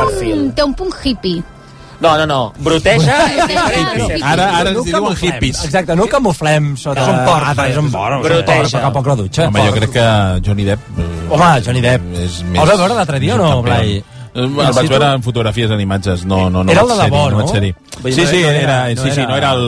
perfil. té un punt hippie. No, no, no. Bruteja Ah, és diferent. Bueno, Vicent. Ara, ara ens No diuen camuflem. hippies. Exacte, no camuflem sota... Són porcs. Ah, és un porc. Bruteja. Porc, Però que poc la dutxa. Home, jo crec que Johnny Depp... eh, Home, Johnny Depp. És El més... vas veure l'altre dia o no, és un campió. Blai? Eh, In El vaig situ? veure en fotografies en imatges, no, no, no Era el vaig de ser-hi, debò, no? vaig ser-hi. Vull Sí, dir, no sí, era- era, no sí, sí, era- no era el...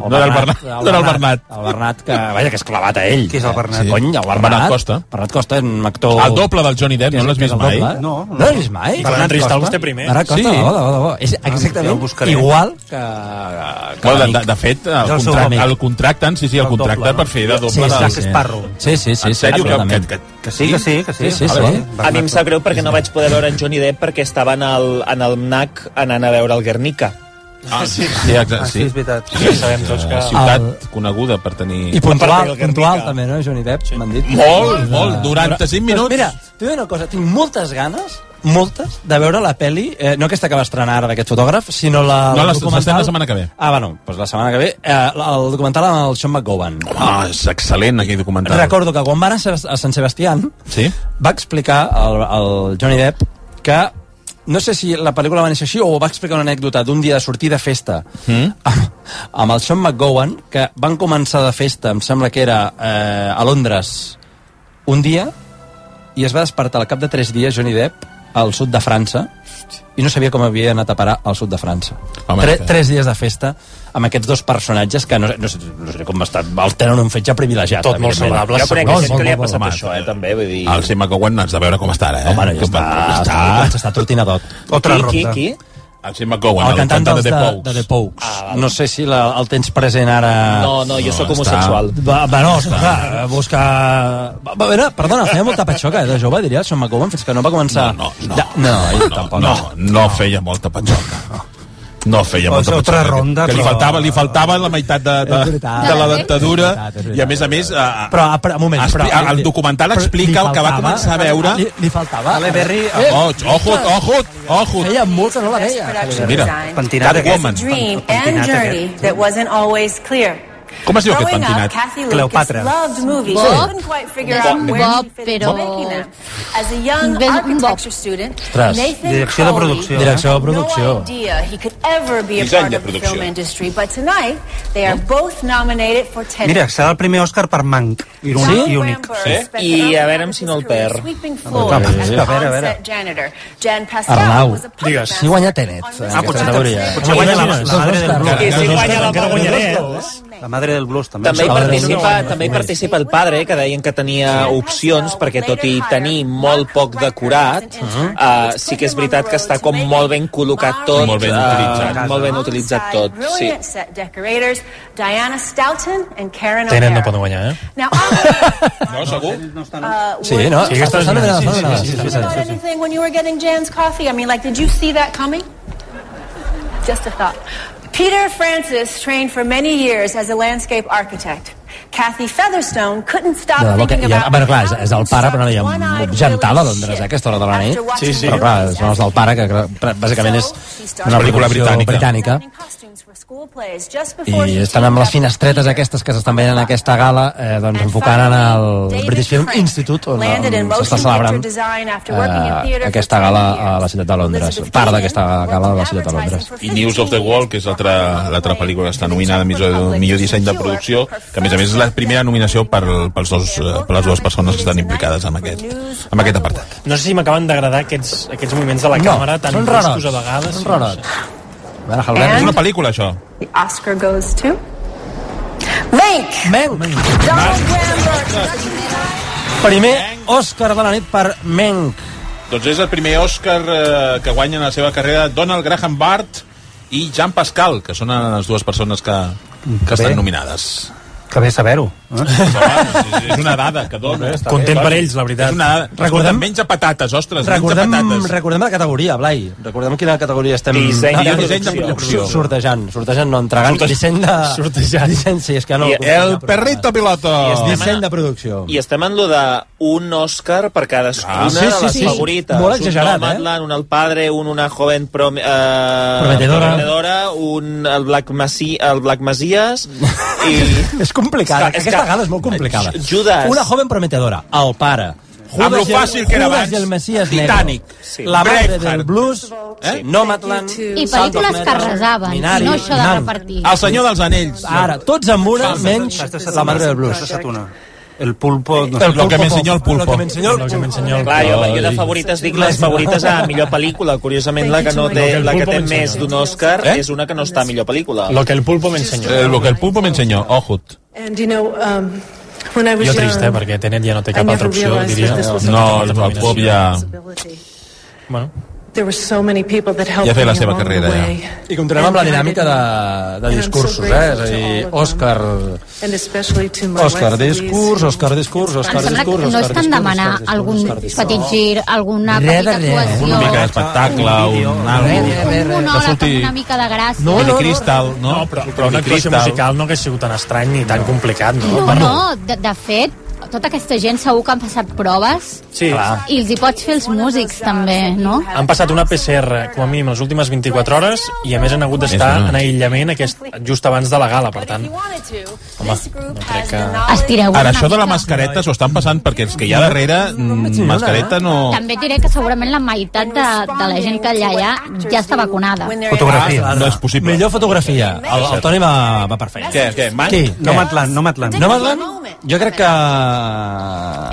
No era el Bernat, no era el Bernat. El Bernat, que, vaja, que és clavat a ell. Qui és el Bernat? Sí. Cony, el Bernat, Bernat Costa. Ah, Bernat Costa és un actor... El doble del Johnny Depp, que és- no l'has que és vist el mai? doble. No, no. No l'has vist mai? I Bernat Bernat Ristal, Costa? vostè primer. Bernat Costa, Sí. sí. hola, hola, hola. Ah, És ja ho exactament buscaré. igual que... Bueno, de, de, de fet, el, És el seu contracte, amic. el contracten, sí, sí, el El doble, contracte no? per fer de doble Sí, del... Jack Sparrow. Sí, sí, sí. En sèrio, que, que, absolutament. que, que Sí, que sí, que sí. Sí, sí, Vale, sí. vale. A mi em Bernat sap greu perquè no vaig poder veure en Johnny Depp perquè estava en el, en el NAC anant a veure el Guernica. Ah, sí, sí, Ah, exacte, sí, sí. és veritat. Ja sabem tots que... Una ciutat El- coneguda per tenir... I puntual, del Guernica. puntual també, no, Johnny Depp? M'han dit. Ah. Molt, molt, 95 Doncs minuts. mira, t'ho diré una cosa, tinc moltes ganes, moltes, de veure la peli, eh, no aquesta que va estrenar ara d'aquest fotògraf, sinó la, No, el la- s'estrena la setmana que ve. Ah, bueno, doncs la setmana que ve, eh, el documental amb el Sean McGowan. Ah, és excel·lent aquell documental. Recordo que quan van a, Sebas- a Sant Sebastián Sí? va explicar el, el Johnny Depp que no sé si la pel·lícula va néixer així o va explicar una anècdota d'un dia de sortir de festa Mm. amb, amb el Sean McGowan que van començar de festa, em sembla que era eh, a Londres un dia i es va despertar al cap de tres dies Johnny Depp al sud de França i no sabia com havia anat a parar al sud de França. Home, Tre, que- tres dies de festa amb aquests dos personatges que no, sé- no, sé, no sé com estan, els tenen un fetge privilegiat. Tot molt evidentment. saludable, Jo segur. conec no, que gent molt, que li ha molt, passat molt, això, eh, també, vull dir... El Sima Cowan has de veure com està ara, eh? Home, ja Que- està, està, està... està trotinadot. Otra qui, qui, ronda. qui? El Sima Cowan, el cantant dels de, de The Pogues. Pogues. Ah, no sé si la, el tens present ara... No, no, jo No, sóc està. homosexual. Va, va, no, va, buscar... Va, va, a veure, perdona, feia molta patxoca, eh, de jove, diria, el Sean McGowan, fins que no va començar... No, no, no. De, no, ell No, tampoc. no, no feia molta patxoca. No feia molta Doncs patxoca. altra ronda, que li però- faltava, li faltava la meitat de, de, És veritat. de la És dentadura. veritat, és veritat. I a més eh, a més... A, a, Però, ah, però, un moment... expli- però, el documental però explica li el que va faltava- començar a veure. Li, li faltava... Eh, Ale Berry, Oh, ojut, ojut, ojut. Feia molt que no la veia. production Mira. design Pentinat aquest. Catwoman. dream and Pentinat journey aquest. that wasn't always clear. Com es diu aquest Growing up, pentinat? Kathy Lucas Cleopatra. loved movies. Bob? She couldn't quite figure Bob, out where Bob, she fit into però- making them. As a young Ben- un Bob. architecture student, Ostres. Direcció Nathan de Crowley producció. Direcció de producció. No idea he could ever be a Disseny part de of the producció. film industry, but tonight they are both nominated for Tenet. Mira, serà el primer Òscar per Manc. I un- Donald I únic. Rambo Sí? spent I the a early veure half si of no his el career perd. sweeping floors tampoc. as Sí, an a veure, a veure. onset janitor. Jan Pascal Arnau, was a puppet digues. Ah, master Si guanya on Tenet, en Mrs. aquesta Robinson. categoria. eh? Potser guanya la, la madre del I blues. si guanya la Madre del La madre del blues també. També hi, A veure, participa, no, no, també hi no. participa el padre, que deien que tenia opcions, perquè tot i tenir molt poc de curat, Ah. eh, sí que és veritat que està com molt ben col·locat tot, Molt ben eh, utilitzat. molt ben utilitzat tot, sí. Diana Stoughton and Karen Tenet no O'Hara. poden guanyar, eh? Now, I'll- No, segur? uh, Sí, were no? you- Sí, aquesta és Està nominada, està sí, sí, nominada. sí, sí, sí. You thought anything when you were getting Jan's coffee? I mean, like, did you see that coming? Just a thought. Peter Francis trained for many years as a landscape architect. Kathy Featherstone couldn't stop De debò que thinking hi ha- about bueno, clar, és- how és el pare, però no hi ha to construct one-eyed gentada a Willy Londres, eh, shit a aquesta hora de la nit. after watching Però clar, són els del pare, que clar, bàsicament és una Pel·lícula producció britànica. britànica. I estan amb les finestretes aquestes que s'estan veient en aquesta gala, eh, doncs enfocant en el British Film Institute, on, on s'està celebrant eh, aquesta gala a la ciutat de Londres, part d'aquesta gala a la ciutat de Londres. I News of the Wall, que és l'altra l'altra pel·lícula que està nominada a millor, millor disseny de producció, que a més a més és la primera nominació per, pels dos, eh, per les dues persones que estan implicades en aquest, en aquest apartat. No sé si m'acaben d'agradar aquests, aquests moviments de la No, càmera tan són bruscos rarots, a vegades. són sí, no sé. rarots. A veure, Halbert, És és una pel·lícula, això. The Oscar goes to... Mank! Menk. Donald Rambo! Primer Òscar de la nit per Menk. Doncs és el primer Oscar eh, que guanyen a la seva carrera Donald Graham Bart i Jean Pascal, que són les dues persones que, que estan Bé. nominades. Que bé saber-ho. Eh? Home, és una dada que dona. Content per ells, la veritat. És una dada. Recordem... Recordem- Menja patates, ostres, Recordem, menja patates. recordem la categoria, Blai. Recordem quina categoria estem... Disseny de disseny de producció. Sortejant, sortejant, no entregant. Disseny de... sortejant. Disseny, sí, és que no... I El perrito piloto. Disseny de producció. I estem en lo de un Òscar per cadascuna Ah, sí, de sí, les sí. favorites. Molt exagerat, un eh? Nomadland, un El Padre, un Una Joven prom, eh, Prometedora. prometedora, un el Black, Masi, el Black Masies i... És complicada, És que- aquesta gala és molt complicada. Judas. Una joven prometedora, el pare, Amb lo fàcil que era abans. Judas i el Messias Negro. Titanic. Sí. La Madre Braveheart. del Blues, eh? Eh? Nomadland... I pel·lícules que resaven, Minari, no això de Minari. repartir. El senyor dels anells. Ara, tots amb una, menys T'has tastat la una, Madre del t'has Blues. tastat una. El pulpo... No sé, El Lo que me enseñó el pulpo. Lo que me enseñó El el que pulpo. m'ensenya el... Clar, jo, jo de favorites dic les favorites a millor pel·lícula. Curiosament, la que, no té, la que té més d'un Òscar Eh? és una que no està a millor pel·lícula. Lo que el pulpo m'ensenya. Eh, Lo que el pulpo me enseñó. Ojut. And you know, um, when I was Jo trist, eh, young, perquè Tenet ja no té I cap never altra opció, realized diria. that this was No, el pop ja... possibility. Bueno, There were so many people that helped Ja té la me seva along carrera, the ja. way. I continuem amb la dinàmica de, de And I'm so discursos, eh? És grateful a dir, to all of them. Òscar... And especially to my Òscar wife, Louise, discurs, who Òscar discurs, Òscar Em discurs, Òscar sembla que discurs, no estan demanant Òscar discurs, algun Òscar discurs. petit gir, alguna Re de re. petita actuació, Una mica d'espectacle, un algo... un Que monòleg surti- amb una mica de gràcia. No, Billy no, Crystal, no? no, però, però Billy una actuació Crystal. musical no hagués sigut tan estrany ni tan complicat, no? No, no, de, de fet, tota aquesta gent segur que han passat proves Sí, i els hi pots fer els músics, també, no? han passat una PCR, com a mínim, les últimes 24 hores i, a més, han hagut d'estar Més o menys. en aïllament aquest, just abans de la gala, per But if tant. you wanted to, Home, this group no crec has the que- knowledge... Estireu Ara, una això de la mica. mascareta s'ho estan passant perquè els que hi ha darrere, mm, mascareta no... També et diré que segurament la meitat de, de la gent que hi ha allà ja està vacunada. When they're Fotografia. No és possible. Millor fotografia. El, el Toni va, va perfecte. Què, què, Manc? Qui? No m'atlant, Eh? no m'atlant. No Nomadland? Jo crec que...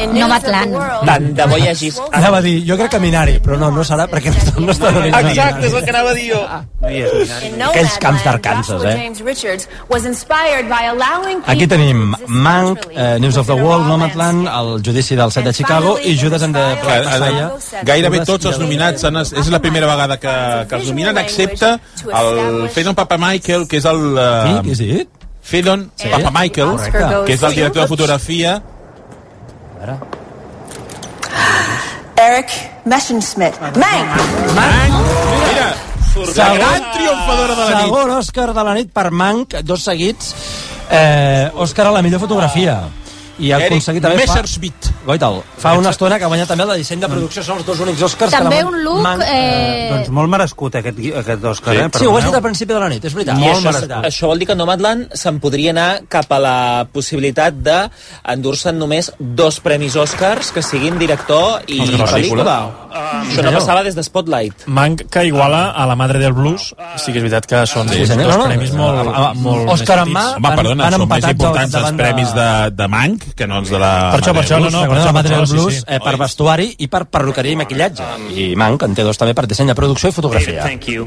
in news No of the m'atlant. world, Tant de bo hi hagis... Anava a dir, jo crec que Minari, però no, no serà perquè no, està- no està nominat. Exacte, és el que anava a dir jo. No hi és, Minari. in Nomadland, Aquells camps d'Arkansas, Joshua eh? James Richards was inspired by allowing Aquí people tenim to exist Mank, naturally eh, News of the within a World, raw Nomadland, el judici del set de Chicago i Judas and the Clar, Black ara, Messiah. eh, gairebé tots els nominats han, és la primera vegada que, que els nominen excepte el Fedon Papa Michael que és el Qui? eh, Qui has dit? Fedon Eh, Papa Michael Correcte. que és el director de fotografia Eric Messenschmidt. Mank! mira, la gran triomfadora de la nit Segon Òscar de la nit per Mank, dos seguits. Eh, Òscar a la millor fotografia. I ha Eric aconseguit també... Fa, Messerschmitt Goital, fa una estona que ha guanyat també el de disseny de producció, són els dos únics Òscars que També la un look... Mank- Eh, Doncs molt merescut, aquest, gui- aquest Òscar, Sí. eh? Sí, ho has dit Perdoneu. al principi de la nit, és veritat. I això, merescut. això vol dir que Nomadland se'n podria anar cap a la possibilitat de endur-se'n només dos premis Oscars que siguin director i Oscar, la pel·lícula. pel·lícula. Això no passava des de Spotlight. Manc que iguala a la Madre del Blues, sí que és veritat que són Sí, dos, senyor, dos no, no. premis molt, Ah, ah, molt Òscar en més mà. petits. Home, Van- perdona, van són més empatats importants davant els premis de, de Manc que no els de la... Per això, per això, no, no, Recordem per la Madre això, del sí, Blues, sí. eh, per vestuari i per perruqueria i maquillatge. I Manc en té dos també per disseny de producció i fotografia. Thank you.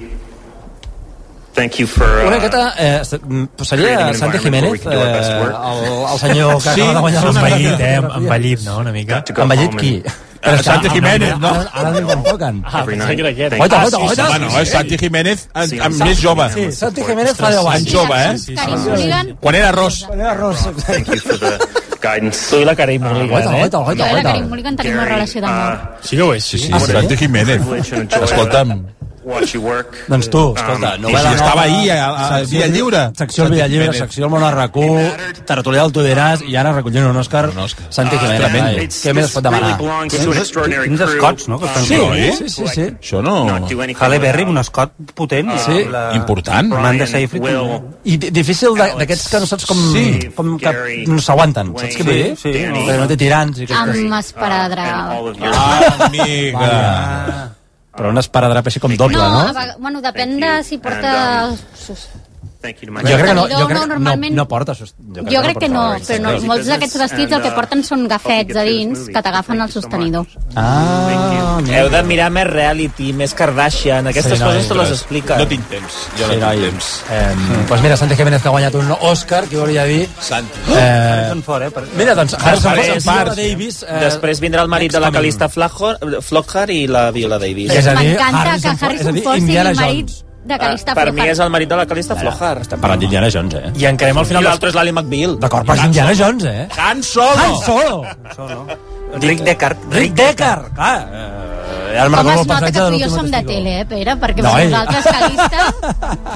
Thank you for. Una Uh, miqueta, eh, se- mm, seria Santi Jiménez, eh, el, el senyor que Sí, acaba de guanyar sí, l'Oscar. Envellit, eh? Envellit, no?, una mica. to go Envellit home qui? and- Però és que Santi ara- Jiménez, no? Ara, Eh, ara diu Ah, quan toquen. Every night. que era aquest. Thank Oita, you. oita, oita. Home, no, és Santi Jiménez en, en més jove. Sí, Santi Jiménez fa 10 En anys. jove, eh? Karim Mulligan, Quan era Ross. Thank you for the guidance. Tu i la cara immobilitzada, Oita, eh? oita, jo oita, i la oita. Karim Mulligan tenim una relació d'amor. uh, Sí que ho és, sí. Sí, Ah, sí? Santi Jiménez. Escolta'm, watch you work. Doncs tu, escolta, Um, i novel·la si Ah, estava nova, ahir a, a, a Via Lliure. Secció al Santi Villa Llibre, Jiménez. secció al Món al RAC1, tertulià del Tuderàs, i ara recollint un Òscar, Un Òscar. Ah, Santi Jiménez. tremendo. Ai, it's- Què més this pot really demanar? belongs to an extraordinary Quins crew, Um, escots, no? Que estan Sí, fora. eh? Sí, sí, sí. Això no... not do anything Halle Berry, without un escot potent. Sí. Important. Amanda Brian, Seyfried. Will, I di- difícil de- d'aquests que no saps com... Sí. Com que no s'aguanten, saps què vull dir? Sí, sí. Que no té tirants i aquestes... Amb esparadrap. uh, and all of your Ah, amiga. Però una esparadrap així com doble, No, no? a vega- bueno, depèn de Eh, si porta... doncs, thank you to my Jo crec que no, jo No, crec, no, no, normalment- no porta sost- Jo crec que no, porta però no, sostenidor. molts d'aquests vestits uh, el que porten són gafets a dins que t'agafen el sostenidor. Ah, Heu de mirar més reality, més Kardashian, aquestes Sí, sí, no, coses te les No expliquen. tinc temps. Jo Sí, no noi. tinc temps. Eh, doncs mira, Santi Jiménez que ha guanyat un Òscar, que volia dir... Santi. Eh, Són fora, eh? Per... mira, doncs, Harrison Ford, Harrison Viola Ford. Davis... Eh, Després vindrà el marit de la Calista Flockhart Flockhart i la Viola Davis. És a dir, M'encanta que Harrison Ford- és a Harrison dir, Ford sigui Indiana el marit Jones. de Calista per mi és Flockhart. el marit de la Calista Flockhart. Parlant d'Indiana Jones, eh? I encarem al I final dels... l'altre és l'Ali McBeal. D'acord, però és Indiana Jones, eh? Han Solo! Han Solo! Rick Deckard. Rick Decker! Clar, eh, Ara me'n recordo Home, es el nota passatge que de tu i jo l'última som de testigo. tele, eh, Pere? Perquè No, no, ell. vosaltres que lista...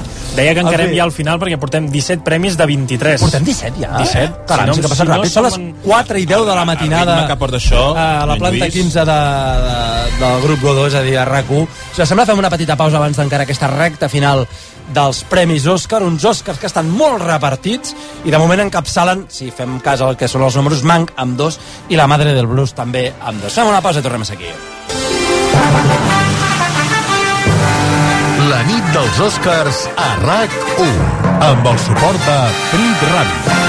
Deia que encarem fi. ja al final perquè portem 17 premis de 23. Portem 17 ja? Eh? 17. Caram, sí que passa ràpid. Són les 4 i 10 de la matinada eh, ritme que porta això, a la en planta Lluís. 15 de, de, del grup Godó, és a dir, a RAC1. Si us sembla, fem una petita pausa abans d'encara aquesta recta final dels Premis Òscar, uns Òscars que estan molt repartits i de moment encapçalen, si fem cas al que són els números, Manc amb dos i la Madre del Blues també amb dos. Fem una pausa i tornem a ser aquí. La nit dels Oscars a RAC1 amb el suport de Frit Ràdio.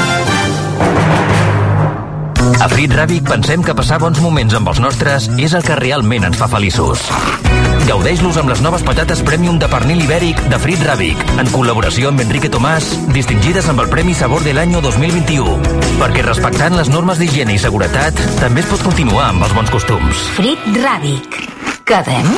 A Frit Ràbic pensem que passar bons moments amb els nostres és el que realment ens fa feliços. Gaudeix-los amb les noves patates Premium de pernil ibèric de Frit Ràbic, en col·laboració amb Enrique Tomàs, distingides amb el Premi Sabor de l'any 2021. Perquè respectant les normes d'higiene i seguretat, també es pot continuar amb els bons costums. Frit Ràbic. Quedem?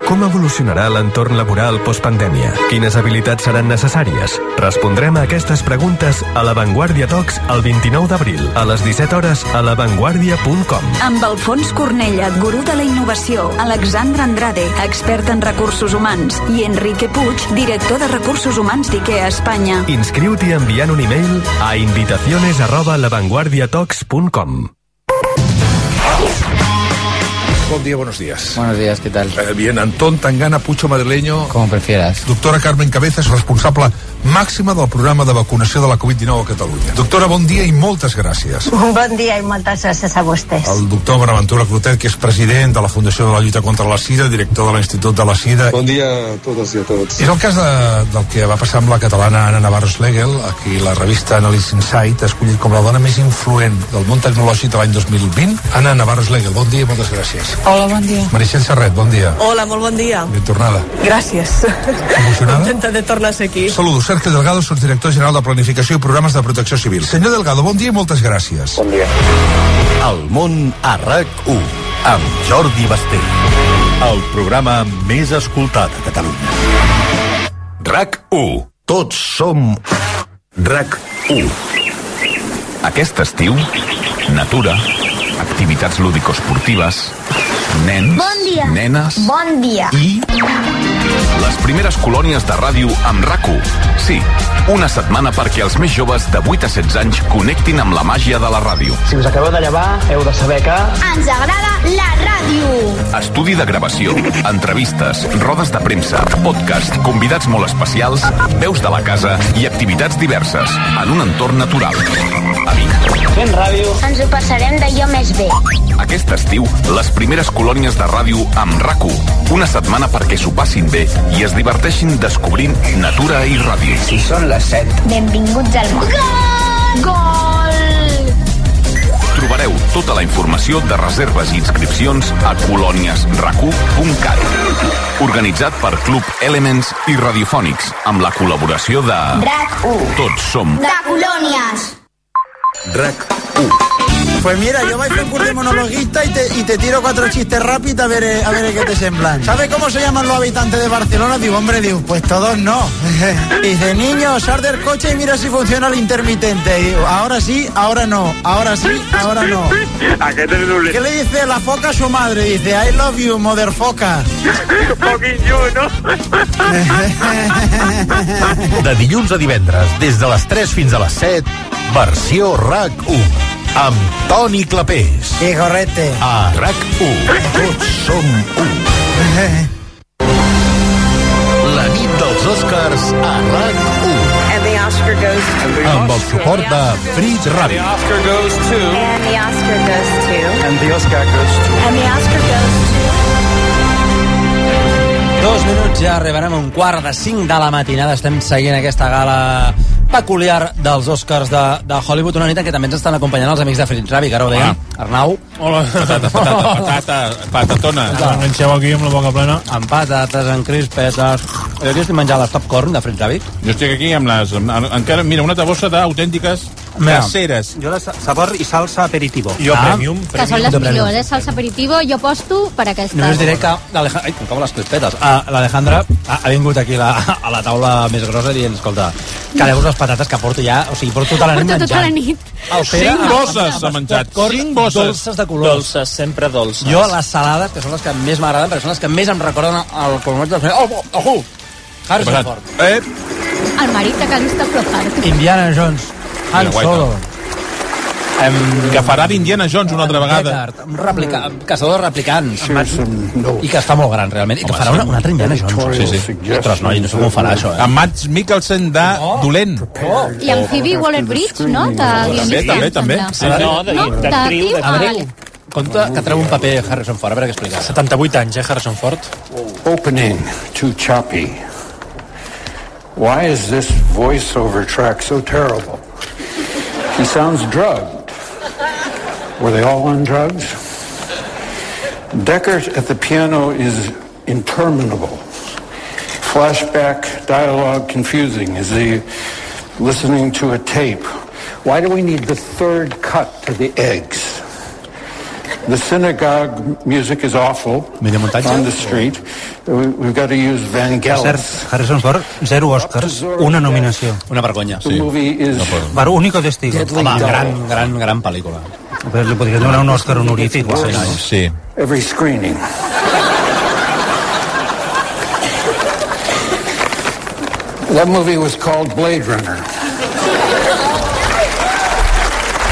Com evolucionarà l'entorn laboral postpandèmia? Quines habilitats seran necessàries? Respondrem a aquestes preguntes a l'Avantguàrdia Talks el 29 d'abril a les 17 hores a lavanguardia.com. Amb Alfons Cornella, gurú de la innovació, Alexandre Andrade, expert en recursos humans, i Enrique Puig, director de recursos humans d'IKEA Espanya. Inscriu-t'hi enviant un e-mail a invitaciones arroba lavanguardiatox.com. Buen día, buenos días. Buenos días, ¿qué tal? bien, Antón Tangana Pucho Madrileño. Como prefieras. Doctora Carmen Cabezas, responsable màxima del programa de vacunació de la Covid-19 a Catalunya. Doctora, bon dia i moltes gràcies. Bon dia i moltes gràcies a vostès. El doctor Bonaventura Clotet, que és president de la Fundació de la Lluita contra la Sida, director de l'Institut de la Sida. Bon dia a totes i a tots. És el cas de, del que va passar amb la catalana Anna Navarro Schlegel, a qui la revista Analysis Insight ha escollit com la dona més influent del món tecnològic de l'any 2020. Anna Navarro Schlegel, bon dia i moltes gràcies. Hola, bon dia. Meritxell Serret, bon dia. Hola, molt bon dia. Ben tornada. Gràcies. Emocionada? Contenta de tornar a ser aquí. Saludo, Sergio Delgado, subdirector general de Planificació i Programes de Protecció Civil. Senyor Delgado, bon dia i moltes gràcies. Bon dia. El món a RAC1 amb Jordi Basté. El programa més escoltat a Catalunya. RAC1. Tots som RAC1. Aquest estiu, natura, activitats lúdico-esportives, nens, nenes Bon dia. i les primeres colònies de ràdio amb rac Sí, una setmana perquè els més joves de 8 a 16 anys connectin amb la màgia de la ràdio. Si us acabeu de llevar, heu de saber que... Ens agrada la ràdio. Estudi de gravació, entrevistes, rodes de premsa, podcast, convidats molt especials, veus de la casa i activitats diverses en un entorn natural. A Vic. Fent ràdio. Ens ho passarem d'allò més bé. Aquest estiu, les primeres colònies de ràdio amb rac Una setmana perquè s'ho passin bé i es diverteixin descobrint natura i ràdio. Si són les 7. Benvinguts al món. Gol! Gol! Trobareu tota la informació de reserves i inscripcions a colòniesracu.cat. Organitzat per Club Elements i Radiofònics, amb la col·laboració de... RAC1. Tots som De colònies. RAC1. Pues mira, yo vais a hacer un curso de monologuista y te, y te tiro cuatro chistes rápido a ver, eh, a ver eh, qué te semblan. ¿Sabes cómo se llaman los habitantes de Barcelona? Digo, hombre, digo, pues todos no. Dice, niño, sal del coche y mira si funciona el intermitente. Y digo, ahora sí, ahora no, ahora sí, ahora no. ¿A qué te duele? ¿Qué le dice la foca a su madre? Dice, I love you, mother foca. Fucking you, no? De dilluns a divendres, des de les 3 fins a les 7, versió RAC1, amb Toni Clapés. Eh. I correcte. A RAC1, tots som un. La nit dels Oscars a RAC1, And the Oscar goes to... amb el suport de Fritz Ràdio. Oscar goes to... And the Oscar goes to... And the Oscar goes to... And the Oscar goes Dos minuts ja arribarem a un quart de cinc de la matinada. Estem seguint aquesta gala peculiar dels Oscars de, de Hollywood, una nit en què també ens estan acompanyant els amics de Fritz Ravi, que ara ho dèiem. Arnau. Hola. Patata, patata, patata, patatona. Enganxeu aquí amb la boca plena. Amb patates, amb eh, crispetes... Jo aquí estic menjant les popcorn de Fritz Ravi. Jo estic aquí amb les... Amb, encara, mira, una tabossa d'autèntiques Caseres. Jo la sa- sabor i salsa aperitivo. Jo premium, que són les millors, eh? Salsa aperitivo, jo aposto per aquesta. Només diré que l'Alejandra... Ai, que em cau les crispetes. Ah, L'Alejandra ha, ha vingut aquí la, a la taula més grossa dient, escolta, caleu les patates que porto ja... O sigui, porto tota la nit menjant. Porto tota la nit. El Pere Cinc ha- bosses ha menjat. Cor- Cinc bosses. Dolces de colors. Dolces, sempre dolces. Jo, les salades, que són les que més m'agraden, perquè són les que més em recorden el formatge de fer... Oh, oh, oh, Harrison Ford. Eh? El marit de Calista Flockhart. Indiana Jones. Han Mira, guaita. Solo. Que farà d'Indiana Jones una altra vegada. Un replica, Mm. un caçador de replicants. I que està molt gran, realment. I que farà una, una altra Indiana Jones. Sí, sí. Ostres, noi, no sé com ho farà, això, eh? Amb Mads Mikkelsen de dolent. Oh. I amb Phoebe Waller-Bridge, no? De guionista, també, em també. sembla. Sí, no, de- no, d'actriu, d'actriu, de- ah, vale. Compte que treu un paper Harrison Ford, a veure què explica. 78 anys, eh, Harrison Ford? Opening too choppy. Why is this voiceover track so terrible? He sounds drugged. Were they all on drugs? Deckert at the piano is interminable. Flashback dialogue confusing. Is he listening to a tape? Why do we need the third cut to the eggs? The synagogue music is awful on the street. We- We've got to use Van Per Gellis. cert, Harrison Ford, zero Oscars, una nominació. Una vergonya. The movie is... Per único testigo. Home, gran, gran, gran pel·lícula. Però li podrien donar un Òscar honorífic. o així, no? Sí. Every screening. That movie was called Blade Runner.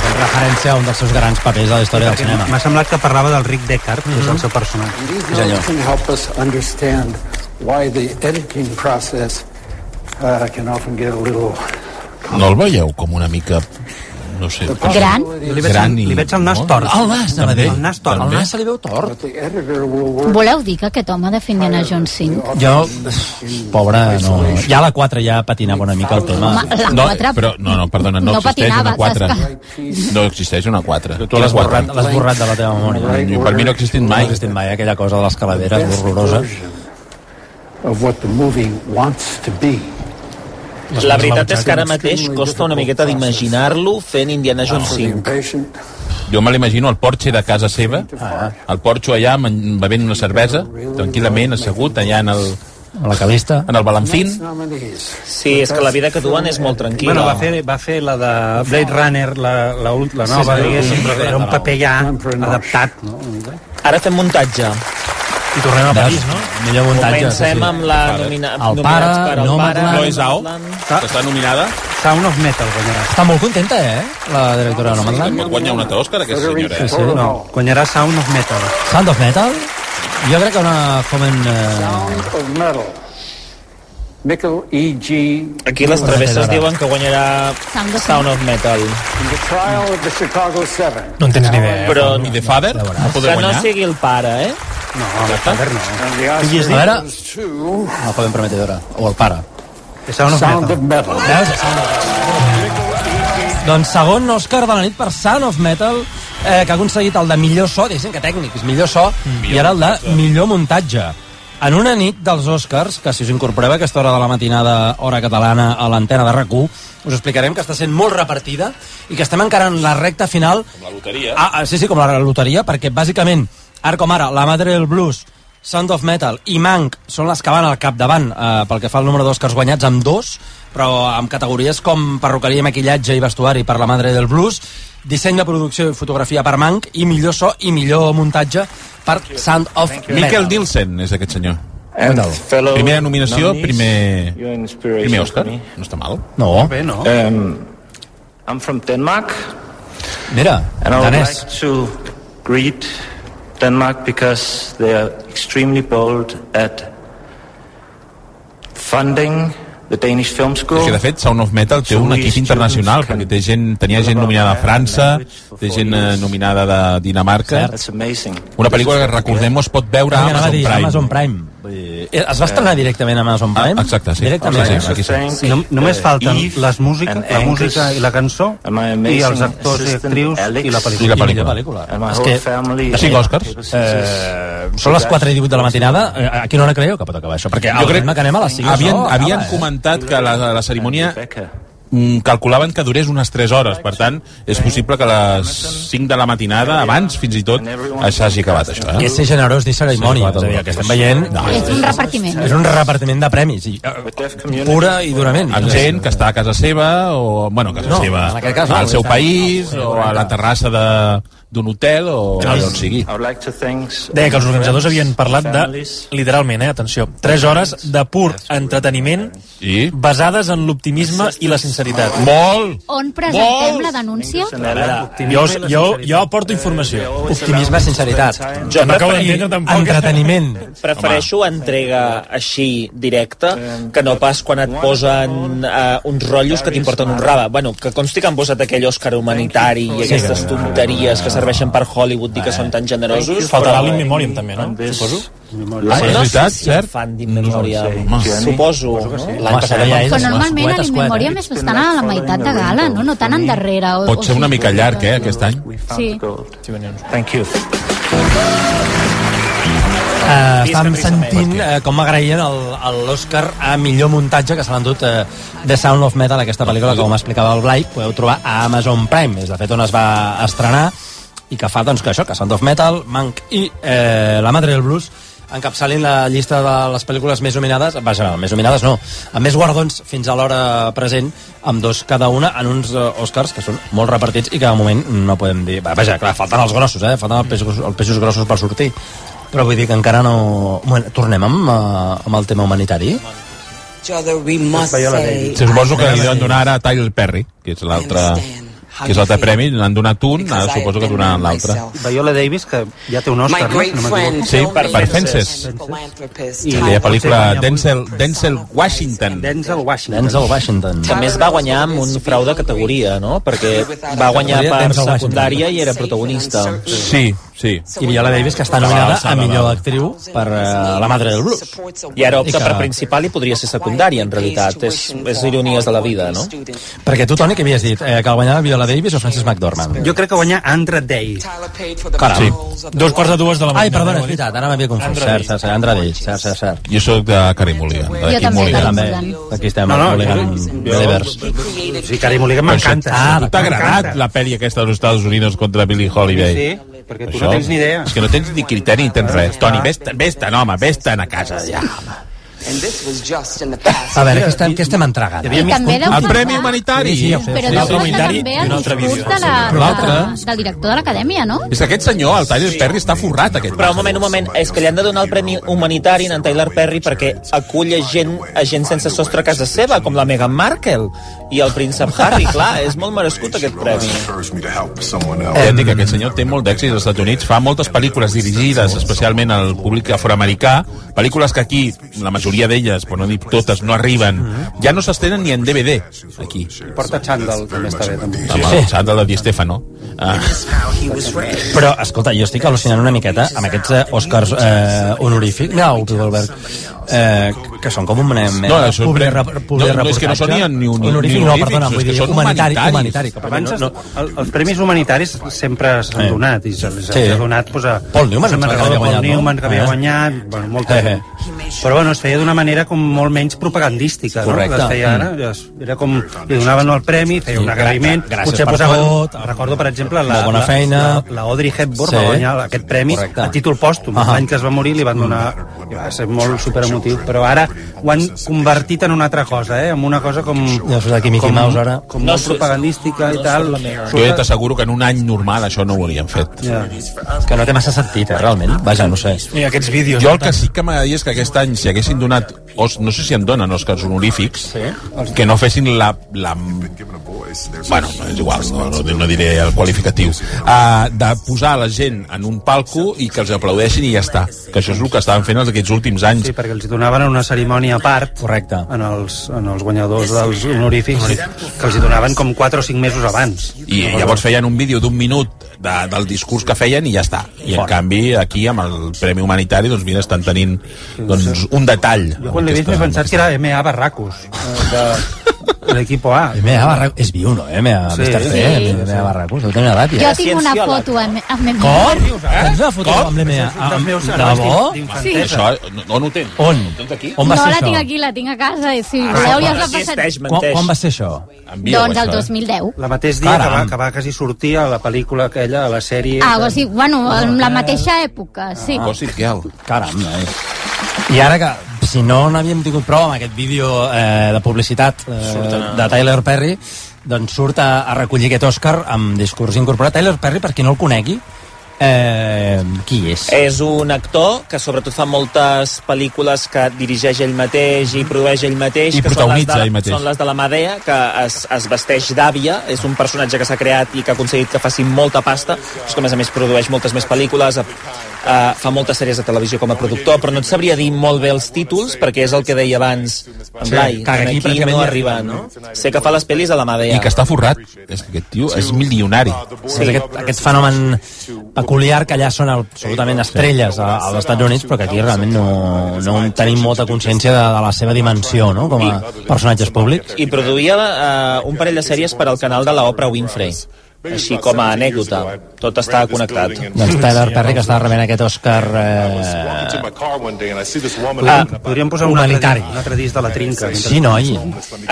En referència a un dels seus grans papers a la història del cinema. M'ha semblat que parlava del Rick Deckard, que és el seu personatge. These notes can help us understand why the editing process uh, can often get a little... No el veieu com una mica no sé. Gran? Li veig, Gran i... li veig el nas tort. El nas, anava a dir. El nas tort. El nas se li veu tort. But the editor will work... Voleu dir que aquest home defendia a John 5? Jo, pobra, no... Ja a la 4 ja patinava una mica el tema. Home, la No, quatre- però, no, no, perdona, no, No existeix patinava, una 4. saps No existeix una 4. Tu l'has borrat, l'has borrat de la teva memòria. Mm, per mi no ha existit mai. No ha existit mai aquella cosa de les calaveres horrorosa. of what the movie wants to be. La veritat és que ara mateix costa una miqueta d'imaginar-lo fent Indiana Ah, Jones 5. Jo me l'imagino al porxe de casa seva, Ah. al porxo allà men- bevent una cervesa, tranquil·lament, assegut, allà en el... A la calista. En el balanfín. Sí, és que la vida que duen és molt tranquil·la. Bueno, va fer, va fer la de Blade Runner, la, la, ult- la nova, Sí, sí. diguéssim, però era un paper ja adaptat. Ara fem muntatge. I tornem a París, no? Millor muntatge, sí, Comencem sí. amb la El pare. nomina... El nominats pare, per al no pare, McLaren. Lois Au. que està nominada. Sound of Metal guanyarà. Està molt contenta, eh, la directora de Nomadland. Pot guanyar un altre Òscar, aquesta senyora. Sí, sí. No, guanyarà Sound of Metal. Sound of Metal? Jo crec que una joven... Eh... Of metal. Mickle E.G. Aquí les travesses diuen que guanyarà Sound of Sound of Metal. In the trial of the Chicago Seven. No en tens ni idea. Però I The Father? No que poder no guanyar? sigui el pare, eh? No, The Father no. Qui és? A veure, Two. una joven prometedora. O el pare. Sound of Metal. Metal. Veus? Sound of Metal. Doncs segon Òscar de la nit per Sound of Metal, eh, que ha aconseguit el de millor so, diguéssim que tècnic, és millor so, i ara el de millor muntatge. En una nit dels Oscars, que si us incorporeu a aquesta hora de la matinada, hora catalana, a l'antena de rac us explicarem que està sent molt repartida i que estem encara en la recta final La loteria. Ah, ah, sí, sí, com la loteria, perquè bàsicament, ara com ara, la Madre del Blues, Sound of Metal i Mank són les que van al capdavant eh, pel que fa al número d'Oscars guanyats amb dos, però amb categories com perruqueria, maquillatge i vestuari per la Madre del Blues, disseny de producció i fotografia per Mank i millor so i millor muntatge per Sound of Metal. Miquel Dilsen és aquest senyor. And fellow Primera nominació, nominees, primer, your inspiration primer Òscar. for me. No està mal. No. Bé, no. Um, I'm from Denmark, Mira, and I would danès. like to greet Denmark because they are extremely bold at funding the Danish Film School. És que, de fet, Sound of Metal té un equip internacional, perquè té gent, tenia gent nominada a França, té gent eh, nominada de Dinamarca. That's amazing. Una pel·lícula que, recordem es pot veure a Anava Ah, a Amazon dir, Prime. Ah, Amazon Prime. Eh, Es va estrenar directament a Amazon Prime? Exacte, sí. Directament. Sí, sí, aquí sí. Sí. Eh, No, només falten les músiques, la música i la cançó i els actors i actrius i la pel·lícula. És que, De cinc Oscars. Eh, són les 4 i 18 de la matinada. Eh, A quina hora creieu que pot acabar això? Perquè Jo al crec- ritme que anem a les 5. Havien, això, havien acaba, eh? comentat que la, la cerimònia mm, calculaven que durés unes 3 hores. Per tant, és possible que a les 5 de la matinada, abans fins i tot, s'hagi acabat això. I Eh? és ser generós ni cerimònia. és a dir, el que estem veient... No, És un repartiment. És un repartiment de premis, i, eh, pura i durament. amb gent que està a casa seva o, bueno, a casa No, seva, en aquest cas no, al seu està- país o a la terrassa de- d'un hotel o allà on sigui. Deia que els organitzadors havien parlat de, literalment, eh, atenció, 3 hores de pur entreteniment I? basades en l'optimisme i la sinceritat. Molt! On presentem Vols? la denúncia? Jo, us- jo, jo aporto informació. Optimisme, sinceritat. Jo no acabo d'entendre tampoc. Entreteniment. Prefereixo entrega així, directa, que no pas quan et posen eh, uns rotllos que t'importen un rave. Bueno, que consti que han posat aquell Òscar humanitari i aquestes tonteries que serveixen per Hollywood dir que són tan generosos. Faltarà però- l'in memoriam, també, eh, no? Suposo. Ah, no sé si en fan d'in memoriam. No sé. Suposo, no? L'any passat allà en Però van fer. normalment a l'Inmemòria més estan a la meitat de gala, no? No tan endarrere. O, Pot ser una mica llarg, eh, aquest any. Sí. Thank you. Uh, estàvem sentint uh, com agraïen el- el- l'Òscar a millor muntatge que se l'han dut uh, The Sound of Metal, aquesta pel·lícula que, com explicava el Blai, podeu trobar a Amazon Prime. És, de fet, on es va estrenar i que fa, doncs, que això, que Sound of Metal, Mank i eh, La Madre del Blues encapçalin la llista de les pel·lícules més nominades, vaja, més nominades no, amb més guardons fins a l'hora present, amb dos cada una, en uns eh, Oscars que són molt repartits i que de moment no podem dir... Va, vaja, clar, falten els grossos, eh? Falten els peixos, els peixos grossos per sortir. Però vull dir que encara no... Bueno, tornem amb, eh, amb el tema humanitari? Se suposo que li deuen donar ara a Tyler Perry, que és l'altre que és l'altre premi, n'han donat un, ara suposo que donaran l'altre. Viola Davis, que ja té un My Òscar, no? great Si no friend, m'equivoco. Sí, per- per Fences. I la pel·lícula Denzel, Denzel Washington. Denzel Washington. Denzel Washington. També es va guanyar amb un frau de categoria, no? Perquè va guanyar per Denzel Washington. secundària i era protagonista. Sí, sí. I Viola Davis, que està nominada a millor actriu per eh, La Madre del Blues. I ara opta I que- per principal i podria ser secundària, en realitat. És, és ironies de la vida, no? Perquè tu, Toni, què havies dit? Eh, que guanyava Viola Davis o Frances McDormand? Jo crec que guanyar Andra Day. Caram. Dos quarts de dues de la Ai, perdona, és veritat, ara m'havia confós. Cert, cert, cert, Andra Day, cert, cert, cert. Jo sóc de Carey Mulligan. Jo també, Mulligan. també. Aquí estem, No, no, no, no, Mulligan, jo- Believers. Sí, Carey Mulligan m'encanta. Ah, t'ha agradat M'encanta. la pel·li aquesta dels Estats Units contra Billie Holiday? Sí, perquè tu no tens ni idea. És que no tens ni criteri ni tens res. Toni, vés-te'n, vés-te'n, home, vés-te'n a casa, ja. Uh, A veure, què estem, què estem entregant? I també deu El premi parlar- humanitari. Sí, sí, Sí, sí, però sí, deu sí. parlar Humanitari també i un el altre discurs vídeo. de la, Però l'altre- de, del director de l'acadèmia, no? És aquest senyor, el Tyler Perry, està forrat, aquest. Però un moment, un moment, és que li han de donar el Premi Humanitari a en Tyler Perry perquè acull a gent, a gent sense sostre a casa seva, com la Meghan Markle i el príncep Harry, clar, és molt merescut aquest premi. Ja et dic que aquest senyor té molt d'èxit als Estats Units, fa moltes pel·lícules dirigides especialment al públic afroamericà, pel·lícules que aquí, la majoria d'elles, per no dir totes, no arriben. Ja no s'estenen ni en DVD, aquí. Porta xandall, també està bé. També. Amb el xandall de Di Stefano. Ah. Però, escolta, jo estic al·lucinant una miqueta amb aquests eh, Oscars eh, honorífics. Mira, Upi Goldberg. Eh, que són com un mena No, això és prem- no, no, és que no són ni- ni- ni- ni honorífic, no, perdona, honorífics, vull és que dir són humanitari, humanitaris. humanitari. que per Abans mi no- no, el, els premis humanitaris sempre s'han Eh. donat i s'ha Sí. sí. donat pues, a Paul Newman, se'n em sembla que recorda havia Paul guanyat, no? Newman que havia Eh. guanyat bueno, Eh, molta eh. gent. però bueno, es feia d'una manera com molt menys propagandística Correcte. Mm. no? que es feia ara Es- era com li donaven el premi, feia Sí, un agraïment gra- gràcies per posaven, tot. recordo per exemple la, Molt bona feina. la, la Audrey Hepburn Sí. va guanyar aquest premi Correcte. a títol pòstum Ahà. l'any que es va morir li van donar i va ser molt superemotiu però ara ho han convertit en una altra cosa eh? en una cosa com Ja surt aquí Mickey com- Mouse ara. com molt propagandística i tal Jo ja t'asseguro que en un any normal això no ho haurien fet. Tota- Ja. Que no té massa sentit, eh, realment. Vaja, no sé. I aquests vídeos... Jo el que sí que m'agradaria és que aquest any, si haguessin donat, os, no sé si en donen Oscars honorífics, que no fessin la... la bueno, és igual, no, no, no diré el qualificatiu. Uh, de posar la gent en un palco i que els aplaudeixin i ja està. Que això és el que estaven fent els aquests últims anys. Sí, perquè els hi donaven en una cerimònia a part Correcte. en els, en els guanyadors dels honorífics que els hi donaven com 4 o 5 mesos abans I llavors feien un vídeo d'un minut de, del discurs que feien i ja està. I en canvi, aquí, amb el Premi Humanitari, doncs mira, estan tenint doncs, un detall. jo quan l'he vist m'he pensat que era M.A. Barracos eh, de, el equipo A. MA barra... Es B1, eh? MA Sí, sí, Mister C, sí, sí, sí, MA sí. barra curs, ho tenia edat, Jo tinc una foto amb... amb Com? eh? Tens una foto amb l'MA? Amb... Ah, De bo? Sí. Això, no, on ho tens? On? Ho tens aquí? On va no ser això? la Ah, tinc aquí, la tinc a casa, i si voleu ja us la passaré. Quan, quan va ser això? eh? Doncs eh. el 2010. La mateix dia que va, Caram. que va quasi sortir a la pel·lícula aquella, a la sèrie... Ah, o sigui, bueno, en la mateixa època, Ah, sí. Gossip Girl. Caram, eh? I ara que, si no n'havíem tingut prou amb aquest vídeo eh, de publicitat Surt eh, a- de Tyler Perry, doncs surt a, a recollir aquest Òscar amb discurs incorporat. Tyler Perry, per qui no el conegui, eh, qui és? És un actor que sobretot fa moltes pel·lícules que dirigeix ell mateix i produeix ell mateix. I que són les de- protagonitza ell mateix. Són les de la Madea, que es, es vesteix d'àvia. És un personatge que s'ha creat i que ha aconseguit que faci molta pasta, però és que a més a més produeix moltes més pel·lícules, eh, fa moltes sèries de televisió com a productor, però no et sabria dir molt bé els títols, perquè és el que deia abans en Sí, que Blai. aquí Aquí, aquí pràcticament no ja- arriba, no? Sé que fa les pel·lis a la Madea. I que està forrat. És que aquest tio és milionari. Sí. És aquest, aquest fenomen peculiar que allà són absolutament estrelles a- als Estats Units, però que aquí realment no, no en tenim molta consciència de, de la seva dimensió no? com a personatges públics. i produïa eh, un parell de sèries per al canal de la Oprah Winfrey així com a anècdota tot està connectat Doncs Tyler Perry, que està rebent aquest Òscar... Eh... Ah, podríem posar un altre, humanitari. disc- un altre disc de la trinca. Sí, noi.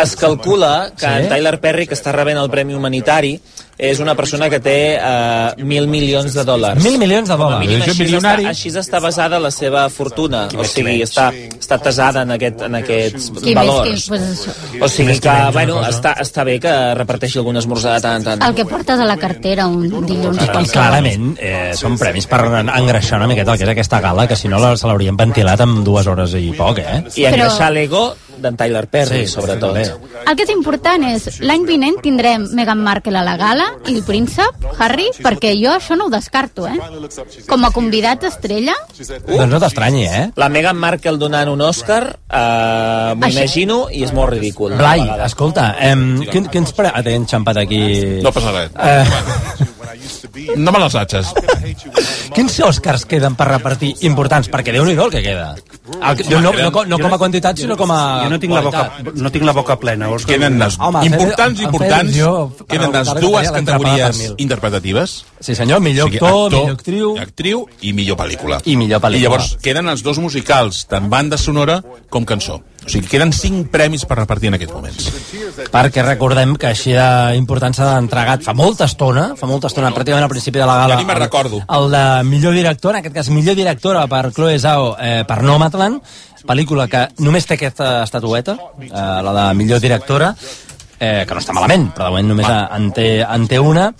es calcula que Sí? en Tyler Perry que està rebent el Premi Humanitari és una persona que té eh, mil milions de dòlars Mil milions de Com a dòlars. mínim, així, està, així està basada la seva fortuna o sigui, està, està tasada en, aquest, en aquests Qui més, qui, valors pues, això. o sigui que, menys una bueno, cosa. està, està bé que reparteixi algun esmorzar de tant en tant el que portes a la cartera un dilluns I clarament eh, són premis per en- engreixar una miqueta el que és aquesta gala, que si no la- se l'haurien ventilat en dues hores i poc, eh? i engreixar l'ego d'en Tyler Perry, sobretot. El que és important és, l'any vinent tindrem Meghan Markle a la gala i el príncep, Harry, perquè jo això no ho descarto, eh? Com a convidats estrella, Doncs no t'estranyi, eh? La Meghan Markle donant un Òscar, eh, m'ho Això- imagino, i és molt ridícul. Blai, escolta, em, què, què ens pre... Ah, t'he enxampat aquí... No passa res. Eh... Ah. No me les atxes. Quins Oscars queden per repartir importants? Perquè déu-n'hi-do el que queda. El, que- no, no, no, com a quantitat, sinó com a... Jo no tinc, la Ah, boca, no tinc la boca plena. Vols que... Queden les Home, importants, Fede- importants, Fede- jo- queden Fede- les Fede- dues Fede- categories Fede- interpretatives. Sí, senyor, millor actor, millor actriu... actriu i millor pel·lícula. I millor pel·lícula. I llavors queden els dos musicals, tant banda sonora com cançó. O sigui, queden cinc premis per repartir en aquests moments. Perquè recordem que així d'important s'ha entregat fa molta estona, fa molta estona, pràcticament al principi de la gala. Ja ni me'n el- recordo. El de millor director, en aquest cas millor directora per Chloe Zhao eh, per Nomadland, pel·lícula que només té aquesta estatueta, eh, la de millor directora, eh, que no està malament, però de moment només en té, en té una.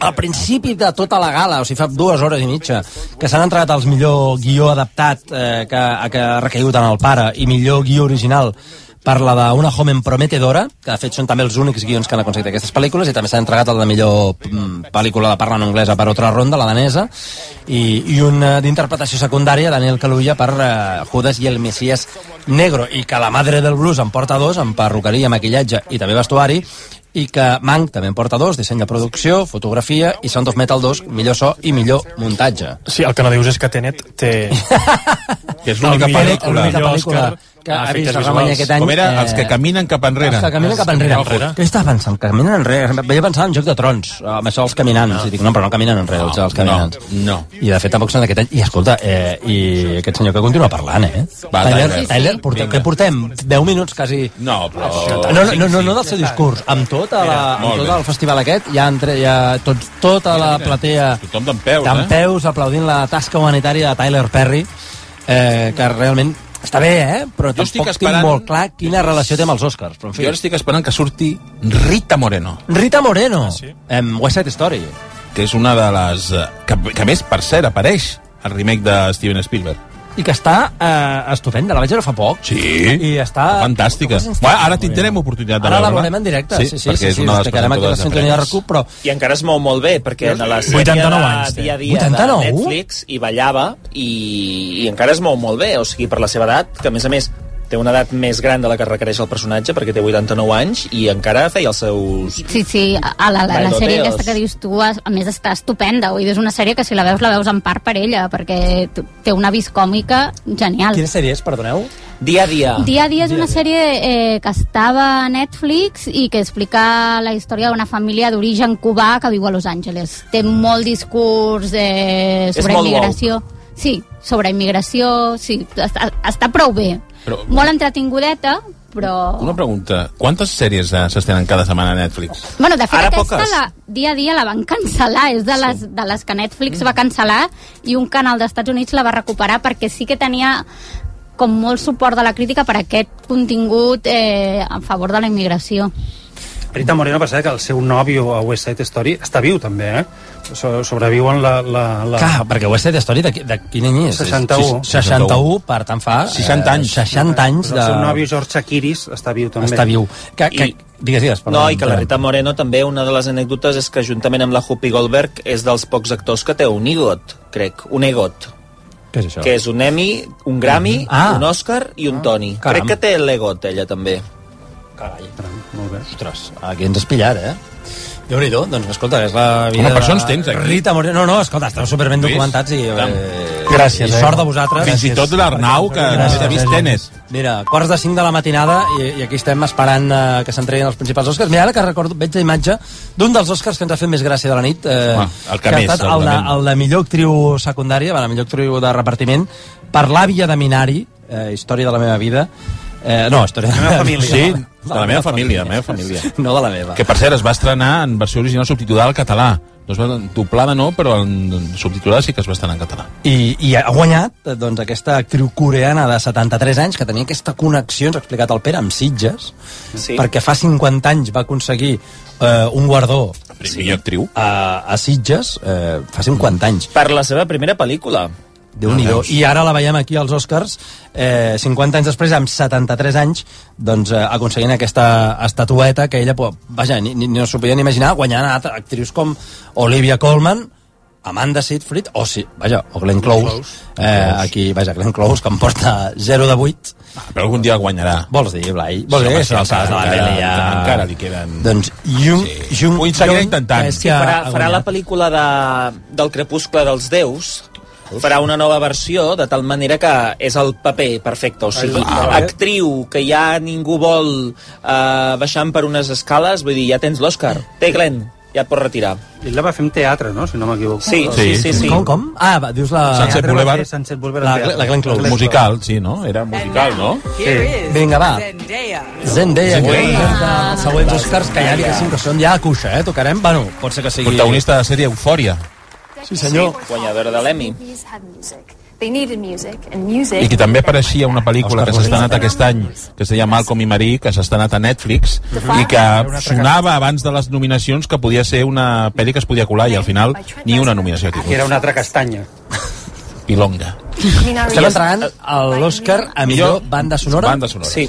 Al principi de tota la gala, o sigui, fa dues hores i mitja, que s'han entregat els millor guió adaptat eh, que, que ha recaigut en el pare i millor guió original parla d'una joven prometedora, que de fet són també els únics guions que han aconseguit aquestes pel·lícules, i també s'ha entregat el de millor mm, pel·lícula de parla en anglesa per altra ronda, la danesa, i, i una d'interpretació secundària, Daniel Calulla, per eh, Judas i el Messias Negro, i que la madre del blues en porta dos, en perruqueria, maquillatge i també vestuari, i que Mank també en porta dos, disseny de producció, fotografia i Sound of Metal 2, millor so i millor muntatge. Sí, el que no dius és que Tenet té... que és l'única pel·lícula. L'única pel·lícula que a ha efectes vist el visuals. Ramon aquest any. eh, Com era? Els que caminen cap enrere. Els que caminen cap Els que enrere. caminen enrere. Què estàs pensant? Caminen enrere. Vaig pensar en Joc de Trons, amb això els caminants. No. I dic, no, però no caminen enrere, els, els caminants. No. I de fet tampoc són d'aquest any. I escolta, eh, i aquest senyor que continua parlant, eh? Va, Tyler, Tyler. Tyler, portem, què portem? 10 minuts quasi... No, però... No, no, no, no, no del seu discurs, amb tot, la, amb Molt tot bé. el festival aquest, ja, entre, ja tot, tota la platea Tothom d'en peus, eh? d'empeus aplaudint la tasca humanitària de Tyler Perry, eh, que realment està bé, eh? però Jo estic tampoc esperant- tinc molt clar quina relació té amb els Oscars. Però en Jo ara fi. estic esperant que surti Rita Moreno. Rita Moreno, ah, sí? em, West Side Story. que és una de les... eh, Que, que a més, per cert, apareix el remake de Steven Spielberg. I que està eh, estupenda, la vaig veure fa poc. Sí. I està... Fantàstica. Bueno, ara tindrem oportunitat de Ara la veure-la. veurem en directe, sí, sí, sí, perquè sí, és sí, una de les destacarem aquí la presentadores de sintonia de premis. RAC1, però... I encara es mou molt bé, perquè en la sèrie 89 de anys té. dia a dia 89? de Netflix hi ballava i, i encara es mou molt bé, o sigui, per la seva edat, que a més a més té una edat més gran de la que requereix el personatge perquè té 89 anys i encara feia els seus... Sí, sí, a la, la, la Bueno, té sèrie aquesta els- que dius tu, a a més està estupenda, vull dir, és una sèrie que si la veus, la veus en part per ella, perquè tu- té una vis còmica genial. Quina sèrie és, perdoneu? Dia a dia. Dia a dia és una sèrie eh, que estava a Netflix i que explica la història d'una família d'origen cubà que viu a Los Angeles. Té molt discurs eh, És sobre molt immigració. Sí, sobre immigració, sí, està, està prou bé. Però- Molt entretingudeta, però... Una pregunta. Quantes sèries eh, s'estenen cada setmana a Netflix? Bueno, de fet, Ara aquesta poques. la, dia a dia la van cancel·lar. És de les, sí. de les que Netflix va cancel·lar i un canal d'Estats Units la va recuperar perquè sí que tenia com molt suport de la crítica per aquest contingut eh, a favor de la immigració. Rita Moreno passada que el seu nòvio a West Side Story està viu també, eh? So, sobreviuen la... la, la... Clar, perquè West Side Story de, qui- de quin any és? 61. 61, per tant fa... 60 anys. Eh, 60 anys El de... seu nòvio George Akiris està viu també. Està viu. Que, que, I- digues, digues. No, i que la Rita Moreno també, una de les anècdotes és que juntament amb la Whoopi Goldberg és dels pocs actors que té un EGOT, crec, un EGOT, Què és això? que és un Emmy, un Grammy, Ah. un Oscar i un Tony. Caram. Crec que té l'EGOT ella també. Carai, molt bé. Ostres, aquí ens has pillat, eh? déu nhi -do. doncs escolta, és la vida... Home, per de- això ens tens aquí. Rita Moreno, no, no, escolta, esteu superben Lluís, documentats i... tant. Eh, Gràcies, i eh? sort de vosaltres. Fins i tot l'Arnau, que Gràcies, ha vist eh? tenis. Mira, quarts de 5 de la matinada i, i aquí estem esperant eh, que s'entreguin els principals Oscars. Mira, ara que recordo, veig la imatge d'un dels Oscars que ens ha fet més gràcia de la nit, eh, Home, el que ha més, estat el de, segurament. el de millor actriu secundària, bueno, millor actriu de repartiment, per l'àvia de Minari, eh, història de la meva vida, eh, no, història de la meva família. vida. Sí, de la meva família, de la meva família. No de la meva. Que, per cert, es va estrenar en versió original subtitulada al català. No es va doblada no, però en subtitulada sí que es va estrenar en català. I, I ha guanyat eh, doncs, aquesta actriu coreana de 73 anys que tenia aquesta connexió, ens ha explicat el Pere, amb Sitges, sí. perquè fa 50 anys va aconseguir eh, un guardó sí. actriu a, a Sitges, eh, fa 50 anys. Per la seva primera pel·lícula. déu nhi I ara la veiem aquí als Oscars, eh, 50 anys després, amb 73 anys, doncs, eh, aconseguint aquesta estatueta que ella, pues, vaja, ni, ni, ni no s'ho podia ni imaginar, guanyant a altres actrius com Olivia Colman, Amanda Seyfried, o sí, vaja, o Glenn Close, eh, aquí, vaja, Glenn Close, que em porta 0 de 8. Però algun dia guanyarà. Vols dir, Blai? Vols dir, home, és l'alçada de la encara- tele, ja... Encara li queden... Doncs, Jung, Jung, Ho seguiré intentant. Sí, farà, farà la pel·lícula de, del Crepuscle dels Déus, farà una nova versió de tal manera que és el paper perfecte, o sigui, Ah, eh? actriu que ja ningú vol eh, baixant per unes escales, vull dir, ja tens l'Oscar. Té, Glenn, ja et pots retirar. Ell la va fer en teatre, no?, si no m'equivoco. Sí, sí, sí, sí. Com, com? Ah, va, dius la... Sunset Boulevard. Sunset Boulevard. La- en teatre. la Glenn Close. Musical, sí, no? Era Eh, musical, no? Sí. Vinga, va. Zendaya, que representa Ah. els següents Oscars que ja diguéssim que són ja a cuixa, eh? Tocarem, bueno, pot ser que sigui... Protagonista de la sèrie Eufòria. Sí, senyor. Guanyadora de l'Emmy. They needed music, and music... I que també apareixia una pel·lícula que s'ha Oscar Rosa. estrenat aquest any, que es deia Malcolm i Marí, que s'ha estrenat a Netflix, i que sonava abans de les nominacions que podia ser una pel·li que es podia colar, i al final ni una nominació ha tingut. Era una altra castanya. Pilonga. Estem entregant a l'Òscar a millor banda sonora. Banda sonora, sí.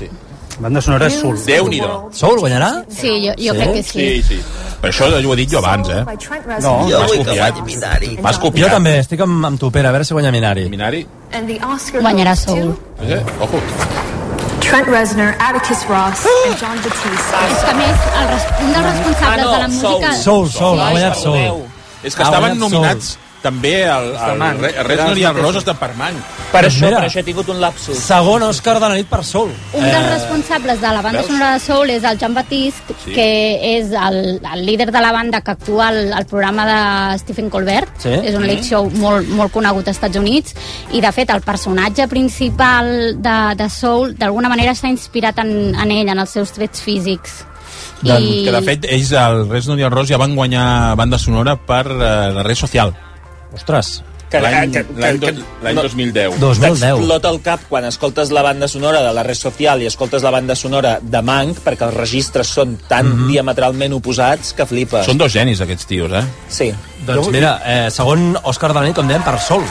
Banda sonora és Soul. Déu-n'hi-do. Soul guanyarà? Sí, jo, jo sí? crec que sí. Sí, sí. Però això ho he dit jo abans, eh? No, M'has jo vull que copiat. guanyi Minari. M'has Jo copiat. també, estic amb, amb tu, Pere, a veure si guanya Minari. Minari? And the Oscar Guanyarà goes Soul. Eh? Ojo. to Trent Reznor, Atticus Ross, and John És Batiste. que, a més, el, res- un dels responsables Ah, no, de la música... Soul, Soul, ha guanyat Soul. És que Ha estaven guanyat nominats també el, el, Superman. el Re- Reznor i el Roses de Perman. Per això, per això he tingut un lapsus. Segon Òscar de la nit per Soul. Un dels Eh, responsables de la banda veus? sonora de Soul és el Jean Baptiste, Sí. que és el, el líder de la banda que actua al, al programa de Stephen Colbert. Sí. És un Mm. late Mhm. show molt, molt conegut als Estats Units. I, de fet, el personatge principal de, de Soul, d'alguna manera, està inspirat en, en ell, en els seus trets físics. I... Doncs Que de fet, ells, el Reznor i el Ros, ja van guanyar banda sonora per eh, la red social. Ostres. Que- eh, L'any que- que- l'any que- do- l'any 2010. T'explota el cap quan escoltes la banda sonora de la red social i escoltes la banda sonora de Manc, perquè els registres són tan diametralment oposats que flipes. Són dos genis, aquests tios, eh? Sí. Doncs mira, eh, segon Òscar de la nit, com dèiem, per Soul.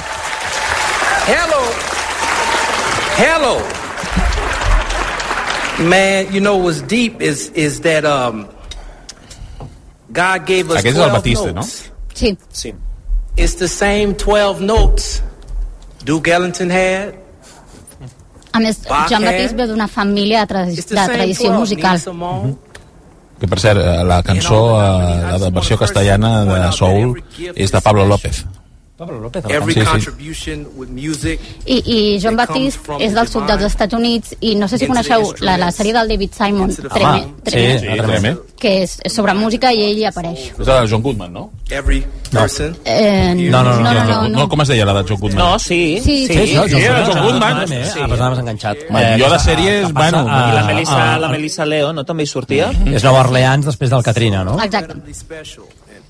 Hello. Hello. Man, you know what's deep is is that um God gave us Aquest és 12 el Batiste, no? notes. Sí. sí. It's the same 12 notes Duke Ellington had. A més, Bach, Joan Baptiste ve d'una família de, tradi de tradició musical. Que, per cert, eh, la cançó, eh, la de versió castellana de Soul, és de Pablo López. Pablo López, el Every cançó, sí, sí. contribution with music. I, i Joan Baptiste és del sud dels Estats Units i no sé si coneixeu la, la sèrie del David Simon, Treme, Treme, sí, treme. que és sobre música i ell hi apareix. És la de John Goodman, no? Every person. Eh, No, no, no, no, no, no, no, com es deia la de John Goodman? No, sí. Sí, sí, sí, sí, era John Goodman. Eh? Ah, però anaves enganxat. Eh, Bueno, Eh, jo de sèries, bueno, eh, I la Melissa, ah, Mhm. la Melissa Leo, no? També hi sortia? És Nova Orleans després del Katrina, Ah, no? Exacte.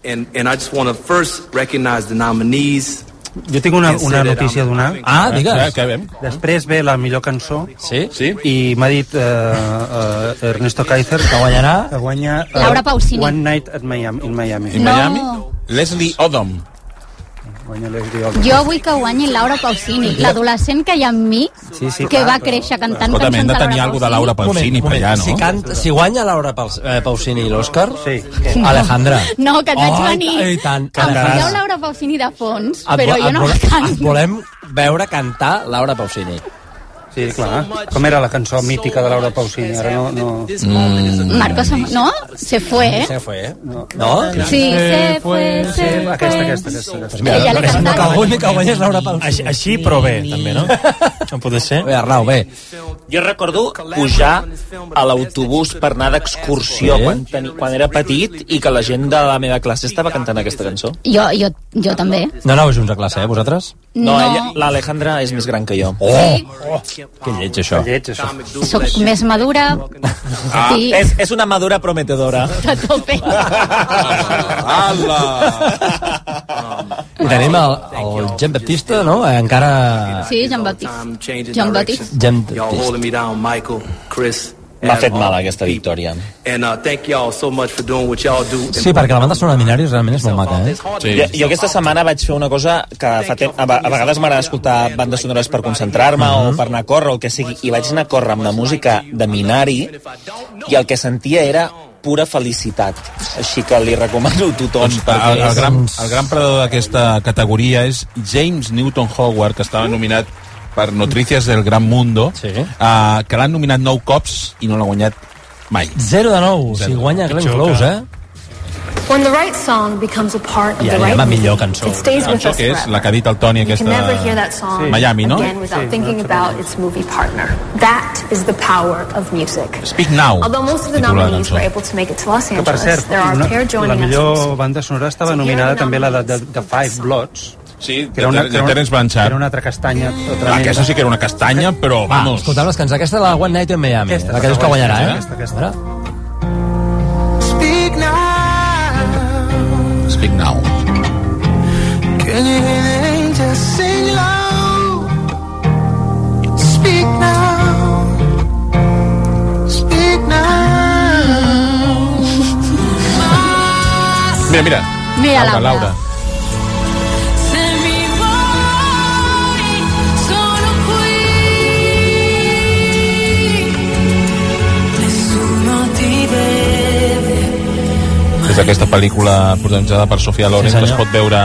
And, and I just want to first recognize the nominees. Jo tinc una, una notícia a donar. Ah, digues. Eh, Què veiem? Després ve la millor cançó. Sí? sí? I m'ha dit eh, eh, Ernesto Kaiser que guanyarà que guanya eh, Laura Pausini. One Night at Miami, in Miami. In No. Miami? Leslie Odom. Guanya Leslie Odom. Jo vull que guanyi Laura Pausini, l'adolescent que hi ha en mi, Sí, sí, que clar, va però- créixer cantant Escolta, hem cançons de de Laura tenir alguna de Laura Pausini per allà, no? Si, canta, si guanya Laura Paus, eh, Pausini l'Òscar, sí. Alejandra. No, que et veig Oh, venir. i tant, Em cantaràs. poseu Laura Pausini de fons, Et però vo- jo et no la vole- Et canto. volem veure cantar Laura Pausini. Sí, clar. Com era la cançó mítica de Laura Pausini? Ara no... no... Mm. Marcos, no? Se fue, eh? Se fue, eh? No? Sí, se fue, se fue. Aquesta, aquesta, aquesta. aquesta. Mira, Ella l'ha Res, cantat. cal guanyi, cal guanyar Laura Pausini. Així, així, però bé, també, no? No pot ser. Bé, Arnau, bé. Jo recordo pujar a l'autobús per anar d'excursió Sí? quan, teni, quan era petit i que la gent de la meva classe estava cantant aquesta cançó. Jo, jo, jo també. No anàveu junts a classe, eh, vosaltres? No, No. ella- l'Alejandra és més gran que jo. Oh! Que lleig, això. Que lleig, això. Soc més madura, Ah, Sí. és, és una madura prometedora. a tope. I tenim el, el Jean Baptista, no? Eh, Encara... Sí, Jean Baptiste. Jean Baptiste. Jean Y'all Baptista. holding me down, Michael, Chris. M'ha fet Adam, mal aquesta victòria. And uh, thank y'all so much for doing what y'all do. Sí, perquè la banda sonora de Minari realment és molt maca, eh? Sí. Jo, jo aquesta setmana vaig fer una cosa que fa temps, a, ve- a vegades m'agrada escoltar bandes sonores per concentrar-me Mhm. o per anar a córrer o el que sigui, i vaig anar a córrer amb la música de Minari i el que sentia era pura felicitat. Així que li recomano a tothom. Doncs el, el, gran, el gran predador d'aquesta categoria és James Newton Howard, que Mm. estava nominat per Notícies del Gran Mundo, sí. uh, que l'han nominat nou cops i no l'ha guanyat mai. 0 de 9, o sigui, guanya Glenn Close, eh? When the right song becomes a part of I the ara hi ha right la music, millor cançó. it stays with Cançó us que és forever. la que ha dit el Toni, You can aquesta... never hear that song Miami, no? again without thinking about its movie partner. That is the power of music. Speak Now, Although most of the titula la nominees cançó. were able to make it to Los Que, per Angeles, cert, there are a pair no, la joining us. millor banda sonora estava nominada també la de, de, de Five Bloods, Sí, que era una, que de era una, Terence Blanchard. era una altra castanya Ah, tremenda. Aquesta sí que era una castanya, però, Va, vamos... escolteu les cançons. Aquesta és la One Night in Miami, Aquesta, la que dius que la guanyarà, eh? aquesta, Ara? Speak now. Speak Now. Can you hear the angels sing low? Speak now. Speak now. Mira, mira. Mira, Laura, Laura. Laura. Se mi vuoi, sono qui. Nessuno ti vede. És aquesta pel·lícula protagonitzada per Sofia Loren, Sí, que es senyor. pot veure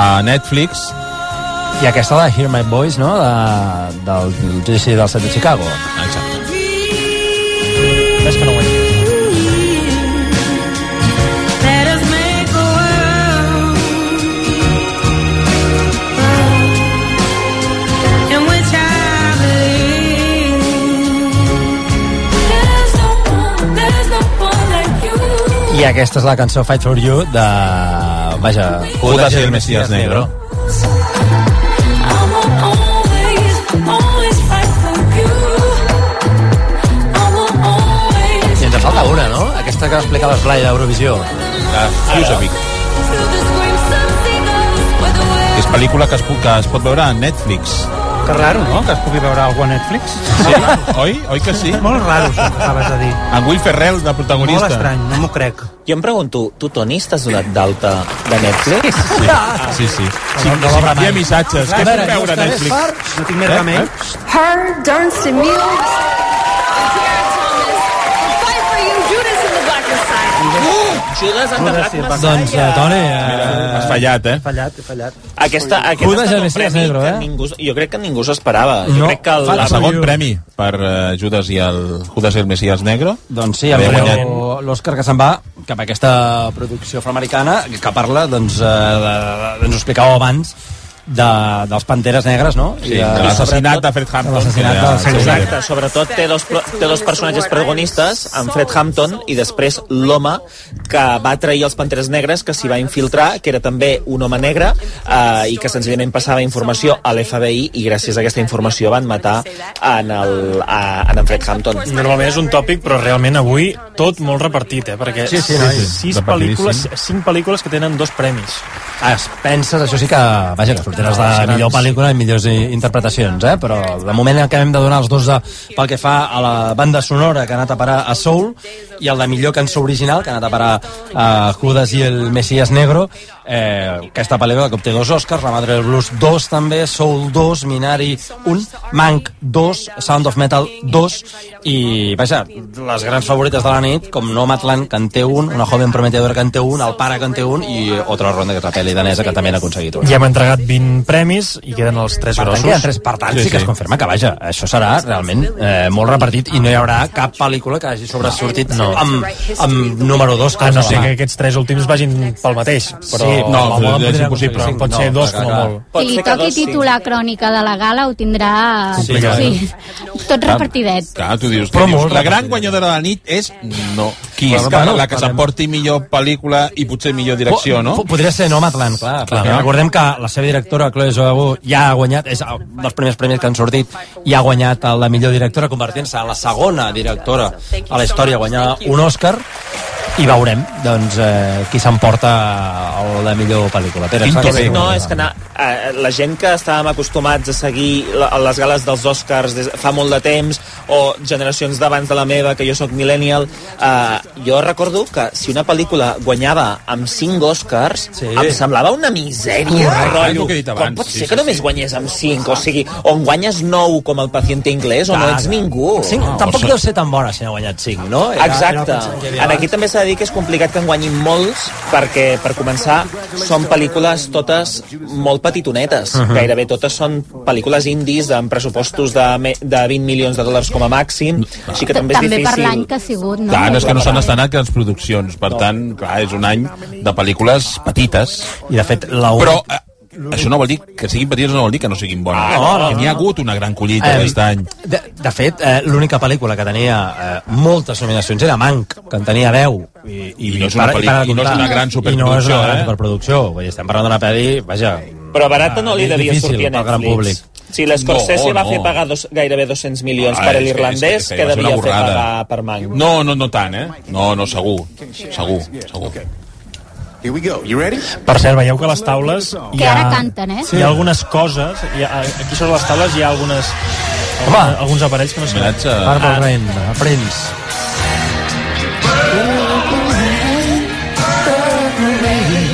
a Netflix. I aquesta de Hear My Voice, no? De, del judici del set de Chicago. Exacte. És que no guanyarà. Let us make a world in which I believe. There's no one, there's no one like you. I aquesta és la cançó Fight For You de... Vaja... Judas i el Mesías Negro. I will always, always fight for you. I will always I ens en falta una, no? Aquesta que va explicar l'esplai d'Eurovisió. La Fusovic. És pel·lícula que es, pu- que es pot veure a Netflix. Que raro, no?, que es pugui veure algú a Netflix. Sí, oi? Oi que sí? Molt raro, això que acabes de dir. En Will Ferrell, de protagonista. Molt estrany, no m'ho crec. Jo em pregunto, tu, Toni, estàs donat d'alta de Netflix? Sí, Ah, sí. Si, no, si envia missatges, què puc veure a Netflix? No tinc més Eh? remei. Her, Durst and Mule. Fight for you, Judas and the Black Messiah. Judas han Judas, demanat sí, Messiah. Doncs, eh, Toni, eh, Has fallat, eh? Fallat, he fallat. Aquesta, aquest Judas ha estat un Messias premi Negro, que eh? ningú, jo crec que ningú s'esperava. Jo crec que el, el segon premi per uh, Judas i el Judas i el Messias Negro. Doncs sí, Haver el guanyat. preu- l'Òscar que se'n va cap a aquesta producció afroamericana que parla, doncs, eh, de, de- ens ho explicàveu abans, de, dels Panteres Negres, no? I Sí, de l'assassinat de Fred Hampton. L'assassinat de Sí, Exacte, sobretot té dos, pro- té dos personatges protagonistes, en Fred Hampton i després l'home que va trair els Panteres Negres, que s'hi va infiltrar, que era també un home negre eh, i que senzillament passava informació a l'FBI i gràcies a aquesta informació van matar en, el, a, en en Fred Hampton. Normalment és un tòpic, però realment avui tot molt repartit, eh? Perquè Sí, sí, sí, sí, noi. sis Repartidíssim. pel·lícules, cinc pel·lícules que tenen dos premis. Ah, es penses, això sí que, vaja, que sortiràs de millor pel·lícula i millors i- interpretacions, eh? però de moment el que hem de donar els dos de, pel que fa a la banda sonora que ha anat a parar a Soul i el de millor cançó original que ha anat a parar a Judas i el Messias Negro, eh, aquesta pel·lícula de cop té dos Oscars, La Madre del Blues 2 també, Soul 2, Minari 1, Mank 2, Sound of Metal 2 i, vaja, les grans favorites de la nit, com Nomadland, que en té un, Una joven prometedora, que en té un, El pare, que en té un, i Otra ronda, que és la pel·li danesa, que també n'ha aconseguit un. Ja hem entregat 20 premis i queden els tres Per tant, grossos. queden tres. Per tant, sí, que es confirma que, vaja, això serà realment eh, molt repartit i no hi haurà cap pel·lícula que hagi sobresortit no. amb, amb número 2. Ah, no sé que aquests tres últims vagin pel mateix, però... Sí, no, la moda és podria impossible. aconseguir cinc, Pot ser No, dos, clar, com a clar. molt. Qui li toqui titular crònica de la gala ho tindrà... Complicat, tot repartidet. Clar, tu dius, Però tu dius molt la gran guanyadora de la nit és... No. Qui és Bueno, que, bueno, la que parlem. s'emporti millor pel·lícula i potser millor direcció, no? Po- Podria ser Nomadland, clar, clar perquè clar. recordem que la seva directora, Chloe Zhao, ja ha guanyat, és el dels primers premis que han sortit, i ha guanyat el de millor directora, convertint-se en la segona directora a la història a guanyar un Òscar, i veurem, doncs, eh, qui s'emporta el de millor pel·lícula. Pere, Quin saps? tope. No, és que anar, eh, la gent que estàvem acostumats a seguir la- a les gales dels Oscars des, fa molt de temps, o generacions d'abans de la meva, que jo sóc millennial, eh, jo recordo que si una pel·lícula guanyava amb 5 Oscars, sí. em semblava una misèria. Correcte, rotllo. és el que he dit abans, Com pot sí, ser sí, que només guanyés amb 5? O sigui, o en guanyes 9 com el paciente inglès, o no Clar, ets clar. ningú. Cinc, Ah, tampoc deu ser tan bona si n'ha guanyat 5, no? Era- Exacte. era el que En aquí també s'ha de dir que és complicat que en guanyin molts perquè, per començar, són pel·lícules totes molt petitonetes. Mhm. Gairebé totes són pel·lícules indies amb pressupostos de, me- de 20 milions de dòlars com a màxim, així que també és També per difícil. l'any que ha sigut, no? Clar, no és que no s'han estrenat grans produccions, per tant, clar, és un any de pel·lícules petites. I de fet, la Però eh, això no vol dir que siguin petites, no vol dir que no siguin bones. Ah, no, no, N'hi ha hagut una gran collita Eh, aquest any. De, de fet, eh, l'única pel·lícula que tenia eh, moltes nominacions era Mank, que en tenia 10. I, I no és una pel·li- de i no és comptar. una gran I no és una superproducció, gran eh? superproducció. Vull dir, estem parlant d'una pel·li, vaja... Però Ah, barata no li és devia difícil sortir a pel gran públic. Netflix. Si l'Scorsese No, va no. fer pagar dos, gairebé 200 milions Ah, per és que- l'irlandès, és que, que- és que va ser una devia fer borrada. pagar per Mank. No, no, no tant, eh? No, no, segur. Segur, segur. Here we go. You ready? Per cert, veieu que a les taules hi Que ha, ara canten, eh? hi ha algunes coses, hi ha, aquí sobre les taules hi ha algunes, Home. alguna, alguns aparells que no sé... Homenatge a- Purple Rain, a Prince.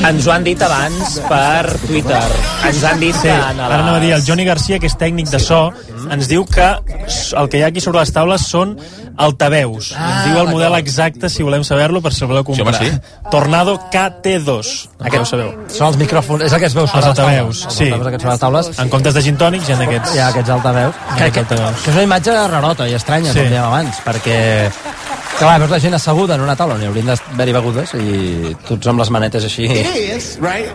Ens ho han dit abans per Twitter. Ens han dit Sí, que en ara anava a dir, el Johnny Garcia, que és tècnic de so, ens diu que s- el que hi ha aquí sobre les taules són altaveus. Ens diu el model exacte, si volem saber-lo, per si el voleu comprar. Sí, home, Tornado KT2. Aquest ho sabeu. Són els micròfons, és el que es veu sobre Els les taules. altaveus, sí. Els aquests sobre les taules. En comptes de gin tònics, hi ha aquests... Hi ha aquests altaveus. Que, que, que és una imatge rarota i estranya, Sí. sí. com dèiem abans, perquè... Clar, veus la gent asseguda en una taula on hi haurien d'haver-hi begudes i tots amb les manetes així... is, right?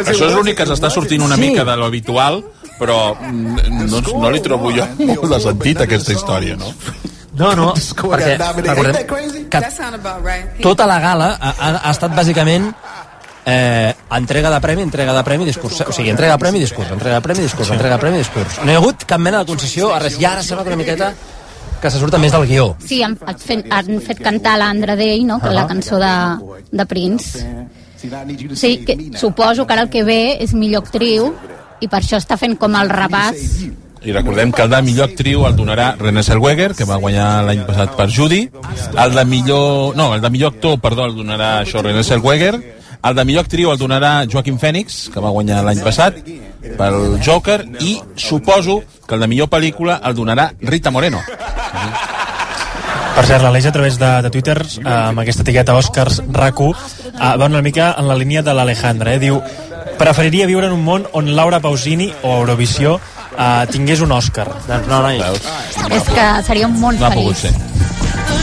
Això és l'únic que ens està sortint una Sí. mica de l'habitual, però mm, no, no li trobo jo molt de sentit a aquesta història, no? No, no, perquè Ain't that recordem que tota la gala ha, ha, ha estat bàsicament eh, entrega de premi, entrega de premi, discurs. O sigui, entrega de premi, discurs, entrega de premi, discurs, entrega de premi, discurs. No hi ha hagut cap mena de concessió a res. I ara sembla que una miqueta que se surta més del guió. Sí, han, han fet, han fet cantar l'Andra Day, no? Que la cançó de, de Prince. Sí, que suposo que ara el que ve és millor actriu i per això està fent com el repàs. I recordem que el de millor actriu el donarà Renée Zellweger, que va guanyar l'any passat per Judy. El de millor... No, el de millor actor, perdó, el donarà això, Renée Zellweger. El de millor actriu el donarà Joaquin Phoenix, que va guanyar l'any passat pel Joker. I suposo que el de millor pel·lícula el donarà Rita Moreno. Per cert, l'Aleix a través de, de Twitter, eh, amb aquesta etiqueta Oscars RAC1, eh, va una mica en la línia de l'Alejandra. Eh? Diu, preferiria viure en un món on Laura Pausini o Eurovisió eh, tingués un Oscar. Doncs no, noi. És que seria un món feliç. ser.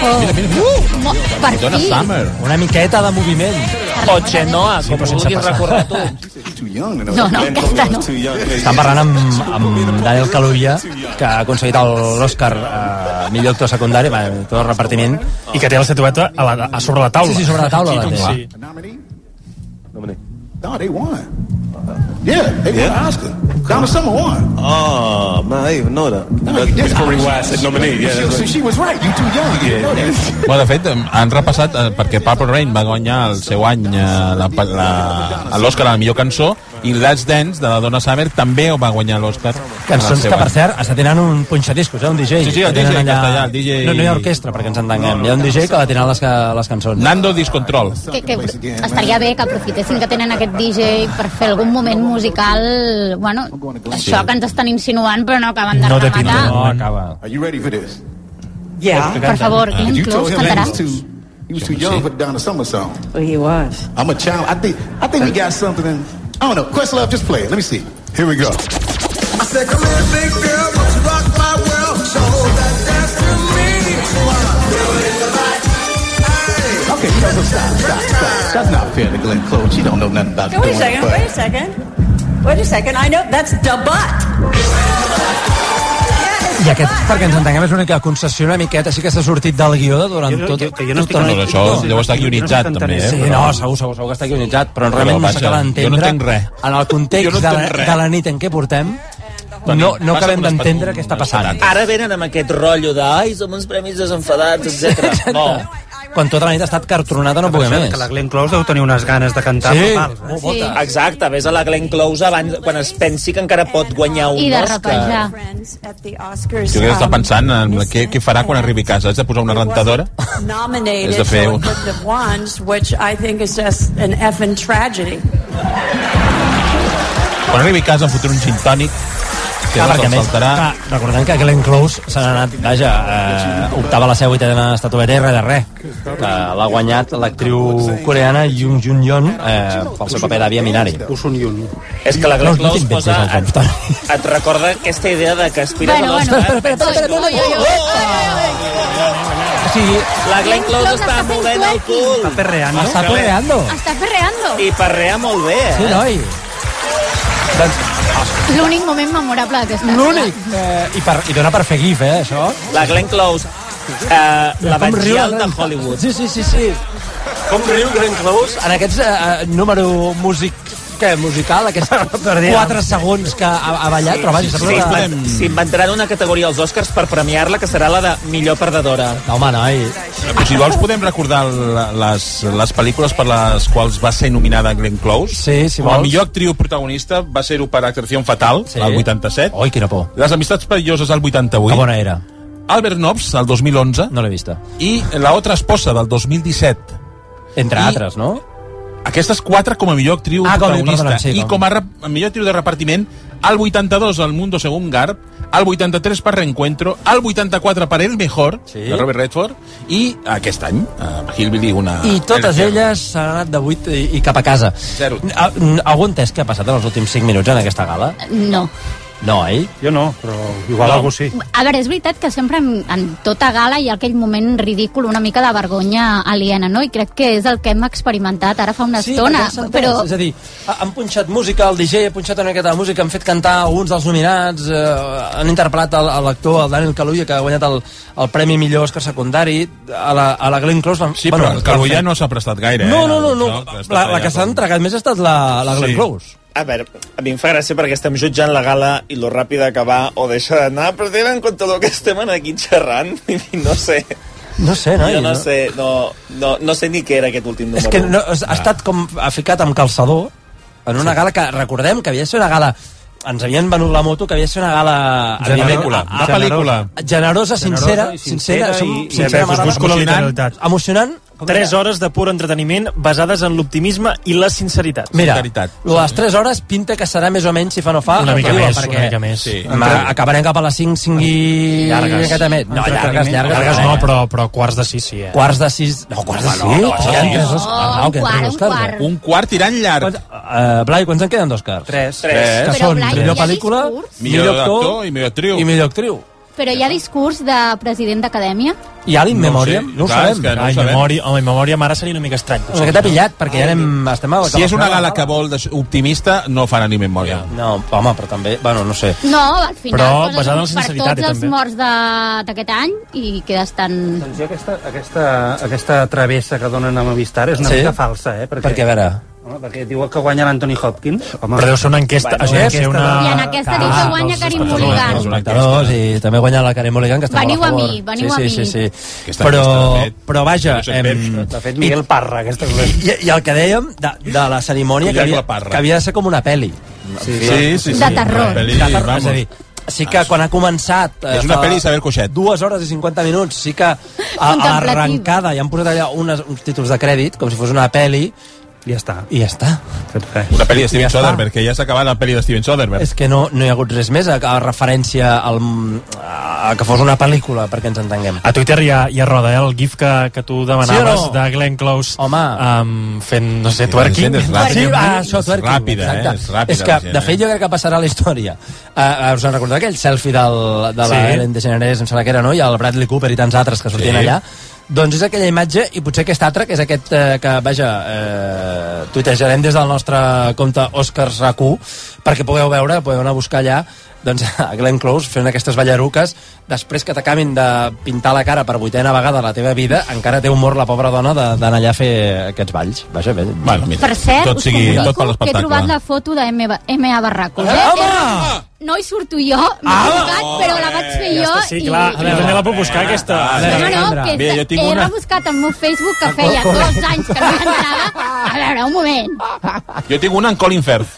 Oh. Mira, mira, mira. Mo per fi. Una miqueta de moviment. O Xenoa, com però ho sense vulguis passar. recordar tu. No, no, aquesta no. Estan parlant amb, amb Daniel Calulla, que ha aconseguit el- l'Oscar eh, millor actor secundari, va, tot el repartiment. I que té la estatueta a la, a sobre la taula. Sí, sí, sobre la taula la Aquí, té. com Sí. No, they won. Yeah, they won an Oscar. Donna Summer won. Ah, Oh, man, I didn't even know that. That's Yes, probably I- why I said nominee. Yeah, She, that's so right. she was right. You too young. You didn't know that. Bueno, de fet, eh, han repassat, eh, perquè Purple Rain va guanyar el seu any eh, la- la- a l'Oscar a la millor cançó, i Let's Dance, de la Donna Summer, també va guanyar l'Oscar. Cançons que, per cert, està tenen un punxadiscos, eh, un DJ. Sí, sí, el que DJ tenen castellà, el DJ. No, no hi ha orquestra, perquè ens entenguem. Hi ha un DJ que va tenir les, ca- les cançons. Nando Discontrol. Que, que estaria bé que aprofitessin que tenen aquest DJ per fer algun moment musical bueno, això que ens estan insinuant però no acaben de Ah. rematar acaba. Are you ready for this? Yeah. Por favor, Glenn You told Close him he cantará. was too, he was too young for the Donna Summer song. Well, he was. I'm a child. I think I think we got something in. I don't know. Questlove, just play it. Let me see. Here we go. I said, come here, big girl, let's rock my world. Show that dance to me. So I'm doing the right. Okay, you know what? Stop, stop, stop. That's not fair to Glenn Close. She don't know nothing about Wait a doing second, the wait a second. Wait a second, I know, that's the butt. I aquest, perquè ens entenguem, és una mica concessió una miqueta, sí que s'ha sortit del guió de durant tot... tota Que, no estic analitzant- Però això deu estar guionitzat, també, eh? Sí, Però- no, segur, segur, segur que està guionitzat, però Però, realment no vaja, s'acaba d'entendre. jo no entenc res. En el Jo no context de, entenc la, res. de la nit en què portem, no, no passa acabem com les d'entendre pat- què està passant. Ara venen amb aquest rotllo de ai, som uns premis desenfadats, etc. No. Quan tota la nit ha estat cartronada no poder més. Que la Glenn Close deu tenir unes ganes de cantar. fatals, eh? sí. Exacte, vés a la Glenn Close abans, quan es pensi que encara pot guanyar un Oscar. Friends at the Jo Oscars, crec que està um, pensant en què, què farà quan arribi a casa. Has de posar una rentadora? nominated És de fer for un- Book of Wands, which I think is just an effing tragedy. Quan arribi a casa em fotré un gin tònic, que ah, perquè se'l saltarà... clar, recordem que Glenn Close se n'ha anat, vaja, eh, octava a la seva vuitena estatueta i res de res. Que l'ha guanyat l'actriu coreana Jung Jun Yeon eh, pel seu paper d'àvia Minari. Usun Yun. És que la Glenn No, no Close t'inventis posa- els noms, Toni. Et recorda aquesta idea de que aspires Bueno, a bueno, l'Oscar. espera, espera, espera, espera, espera, espera, espera, O sigui, Oh! La Glenn Close està fent movent el cul. Està perreando. Està perreando. Està ferreando. I perrea molt bé, eh? Sí, noi. Doncs, L'únic moment memorable d'aquesta. L'únic. eh, i, per, I dona per fer gif, eh, això. La Glenn Close, eh, la Com riu la Batgial de Glenn- Hollywood. Sí, sí, sí, sí. Com riu Glenn Close en aquests eh, eh, número músic què, musical, aquests 4 segons que ha, ha ballat, però vaja, sembla Sí, que... s'invent- S'inventaran una categoria als Oscars per premiar-la, que serà la de millor perdedora. No, home, noi. Però si vols podem recordar l- les, les pel·lícules per les quals va ser nominada Glenn Close. Sí, si Com a vols. millor actriu protagonista va ser-ho per Atracción Fatal, sí. el 87. Oi, quina por. Les Amistats Perilloses, el 88. Que Ah, bona era. Albert Nobbs, el 2011. No l'he vista. I La Otra Esposa, del 2017. Entre I- altres, no? Aquestes quatre com a millor actriu Ah, com a- protagonista perdona, sí, i com- com a rep- millor actriu de repartiment al 82 al Mundo según Garb al 83 per Reencuentro al 84 per El Mejor sí. de Robert Redford i aquest any uh, Hillbilly una... I totes Hellfire. elles s'han anat de 8 i, i cap a casa. Zero. A- n- Algú ha entès què ha passat en els últims 5 minuts en aquesta gala? No. No, ell? Jo no, però igual No. algú sí. A veure, és veritat que sempre en, en tota gala hi ha aquell moment ridícul, una mica de vergonya aliena, no? I crec que és el que hem experimentat ara fa una estona. perquè s'entén. Però És a dir, ha- han punxat música, el DJ ha punxat una miqueta de música, han fet cantar alguns dels nominats, eh, han interpel·lat el- a l'actor, el Daniel Calulla, que ha guanyat el, el Premi Millor Oscar Secundari, a la, a la Glenn Close... l'han- Sí, però el Carullà no s'ha prestat gaire. No, eh? no, no, no. que està La, la allà que s'ha com- entregat més ha estat la, la Glenn Close. A ver, a mí me fa gràcia perquè estem jutjant la gala i lo ràpida que va o deixa d'anar, però tenen en compte el que estem aquí xerrant, vull dir, no sé. No sé, noi. jo no, sé, no, no, no sé ni què era aquest últim número. És que no, Ah. ha estat com ha ficat amb calçador en una gala que, recordem, que havia de ser una gala ens havien venut la moto que havia de ser una gala Generosa. evidentment, De pel·lícula. generosa, Generosa sincera, i sincera sincera, som- i- sincera, i a més, us busco la emocionant, literalitat. emocionant 3 hores de pur entreteniment basades en l'optimisme i la sinceritat. Mira, lo de les 3 hores pinta que serà més o menys, si fa no fa... Una el mica que diuen, més, perquè una mica més. Sí. ma- Acabarem cap a les 5, 5 i... Llargues. Una miqueta més. No, llargues, llargues. eh? Llargues no, però, però quarts de 6 sí, eh? Quarts de 6... No, quarts de 6? No, no, ja en tres Oscars. Oh, No, que en un tres quart, un Oscars, quart. eh? Un quart tirant llarg. Uh, Blai, quants en queden d'Oscars? Tres. Eh, Tres. Que Però, són Blai, millor hi ha pel·lícula, discurs? Millor actor i millor actriu. I millor actriu. Però hi ha discurs de president d'acadèmia? I ara in memòria? No ho sabem. No Ai, memòria, home, memòria mare seria una mica estrany. O sigui, que t'ha pillat, perquè ja anem... Estem a... Si és una gala que vol des- optimista, no fan ni memòria. No, home, però també... Bueno, no sé. No, al final Però poses basada en la per sinceritat, tots els també. morts de- d'aquest any i quedes tan... Doncs jo aquesta, aquesta, aquesta travessa que donen a Movistar és una Sí? mica falsa, eh? Perquè, Perquè, a veure. Home, perquè diu que guanya l'Anthony Hopkins. Home, Però deu ser una enquesta- això deu ser una- I en aquesta diu que guanya Karim Mulligan. espectadors i també guanya la Karen Mulligan, que està Veniu molt a a, favor. mi, veniu sí, a sí, Sí, mi. sí, Aquesta Però, enquesta, de fet, però vaja... em, De fet, Miguel Parra, aquesta és la- i, I el que dèiem de, de la cerimònia que Collec havia, la parra. que havia de ser com una pel·li. Sí, sí, sí, sí. De terror. Una pel·li, De terror, vamos. és a dir, sí que quan ha començat... És una fa pel·li Isabel Coixet. Dues hores i 50 minuts, sí que a, a Contemplativa. l'arrencada hi han posat allà unes, uns títols de crèdit, com si fos una pel·li, i ja està. I ja està. Una pel·li de Steven Ja està. Soderbergh, que ja s'ha acabat la pel·li de Steven Soderbergh. És que no, no hi ha hagut res més a, a referència al, a, que fos una pel·lícula, perquè ens entenguem. A Twitter ja, ja roda, eh? El gif que, que tu demanaves Sí o no? de Glenn Close Home. Ah, Um, fent, no sé, twerking. Sí, ah, això, twerking. eh, exacte. és que, de fet, jo crec que passarà a la història. Uh, us en recordeu aquell selfie del, de la Sí. sí. Ellen DeGeneres, em sembla que era, no? I el Bradley Cooper i tants altres que sortien Sí. sí. allà. Doncs és aquella imatge, i potser aquest altre, que és aquest eh, que, vaja, eh, tuitejarem des del nostre compte Oscars RAC1, perquè pugueu veure, podeu anar a buscar allà, doncs a Glenn Close fent aquestes ballaruques després que t'acabin de pintar la cara per vuitena vegada a la teva vida encara té humor la pobra dona de- d'anar allà a fer aquests balls vaja, bé, bueno, Per cert, us comunico que he trobat la foto de M.A. Barracos. Eh? Era- No hi surto jo, m'he equivocat, però la vaig fer jo. Sí, clar, a veure, també la puc buscar, aquesta. Ah, I... No, no, que Mira, jo tinc he una- Ah, rebuscat al meu Facebook que feia corre. dos anys que no m'entrava. A veure, un moment. Ah, Jo tinc una en Colin Firth.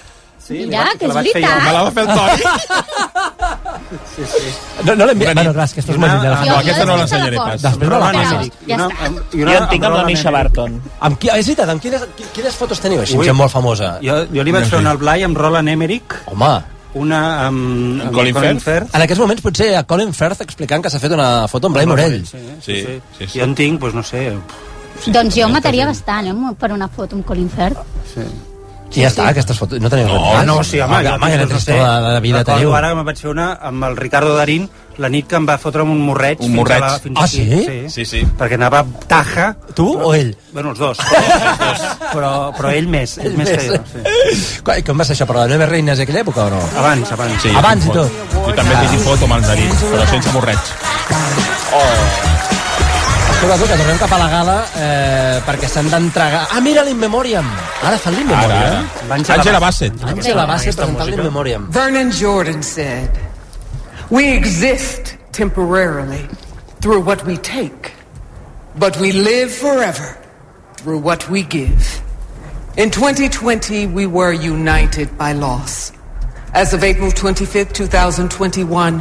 Mira, que Me la és va fer el veritat. Toni. Ah. No, no l'hem vist. Bueno, clar, és que estàs molt lluny de la Ah, no, aquesta no l'ensenyaré pas. Després me la passes. Ja una, Jo en tinc amb la Misha Barton. Amb qui, és veritat, amb quines, qui- quines fotos teniu així? Ui. Gent molt famosa. Jo, jo li vaig fer una al Blai amb Roland Emmerich. Home. Una amb, amb En aquests moments potser a Colin Firth explicant que s'ha fet una foto amb Blai Morell. Sí, sí, sí, sí, Jo en tinc, doncs no sé... Doncs jo em mataria bastant, eh, per una foto amb Colin Firth. Sí. I ja està, aquestes fotos. No teniu res No, més? no, sí, home, doncs, tota home, home, no no sé. de, de vida Recordo teniu. Ara me vaig fer una amb el Ricardo Darín, la nit que em va fotre amb un morreig. Un morreig. Fins a la, fins Ah, aquí, sí? sí? Sí, sí. Perquè anava amb taja. Tu o ell? Bueno, els dos. Però, els dos. però, però ell més, ell més que jo. Sí. Coi, Com va ser això? Però de Nueve Reines d'aquella època o no? Abans, abans. Sí, abans i tot. Jo també tinc foto amb el Darín, però sense morreig. Escolta, tu, que tornem cap a la gala eh, perquè s'han d'entregar... Ah, mira l'In Memoriam! Ara fan l'In Ara, Memoriam. ara. Angela Bassett. Angela Bassett presentant l'In Memoriam. Vernon Jordan said, We exist temporarily through what we take, but we live forever through what we give. In 2020, we were united by loss. As of April 25th, 2021,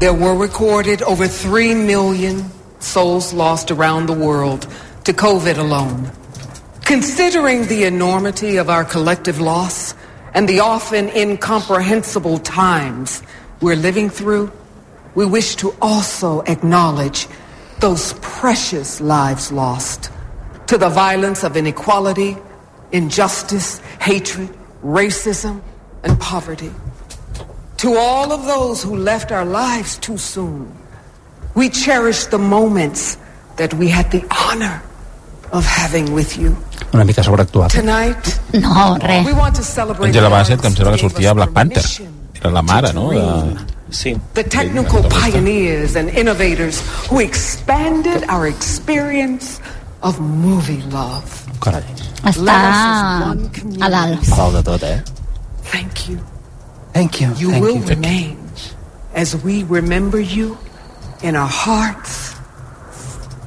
there were recorded over 3 million souls lost around the world to COVID alone. Considering the enormity of our collective loss and the often incomprehensible times we're living through, we wish to also acknowledge those precious lives lost to the violence of inequality, injustice, hatred, racism, and poverty. To all of those who left our lives too soon, we cherish the moments that we had the honor of having with you. Una mica sobreactuat. Tonight, No, res. we want to celebrate Angela Bassett, que em sembla que sortia a Black Panther. Era la mare, no? De... Sí. the technical pioneers and innovators who expanded our experience of movie love. Està a dalt. A dalt de tot, eh? Thank you. Thank you. You Thank will you. remain as we remember you in our hearts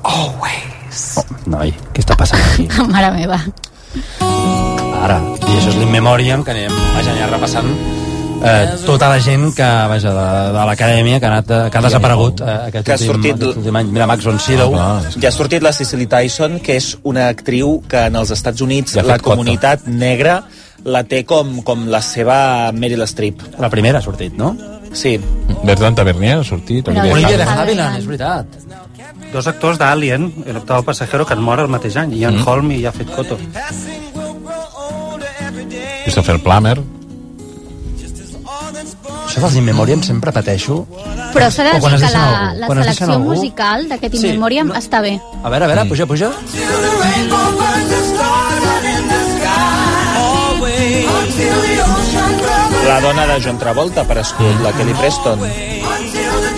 always. Noi, què està passant aquí? Mare meva. Ara. I això és l'In Memoriam, que anem, vaja, anem repassant eh, tota la gent que, vaja, de, de l'acadèmia que ha, anat, que ha desaparegut eh, aquest, Que ha últim, sortit- aquest últim any. Mira, Maxon Sirow. Ah, Ja ha sortit la Cicely Tyson, que és una actriu que en els Estats Units Ja ha la fet cota. comunitat negra la té com, com la seva Meryl Streep. La primera ha sortit, no? Sí. Bertran Tavernier ha sortit. Olivia de Havilland, és veritat. Dos actors d'Alien, el octavo passajero, que en mor el mateix any. Ian Mm. mm. Holm i Jafet Koto. Christopher Plummer. Això dels In Memoriam sempre pateixo. Però s'ha de O quan es dir que deixen la, algú. la Quan es deixen selecció algú- musical d'aquest In Sí, Memoriam està bé. A veure, a veure, puja, puja. La dona de John Travolta, per escut, Mm. la Kelly Preston.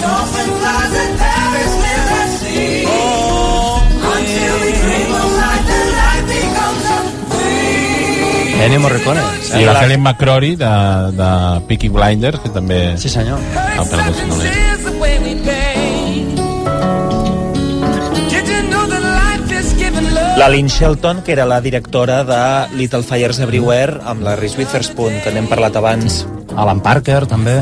Ennio Morricone. I la Helen McCrory de, de Peaky Blinders, que també... Sí, senyor. Ah, però no sé, no l'he. Here's the way we pay. Did you know that life is giving love? La Lynn Shelton, que era la directora de Little Fires Everywhere, amb la Reese Witherspoon, que n'hem parlat abans. Alan Parker, també.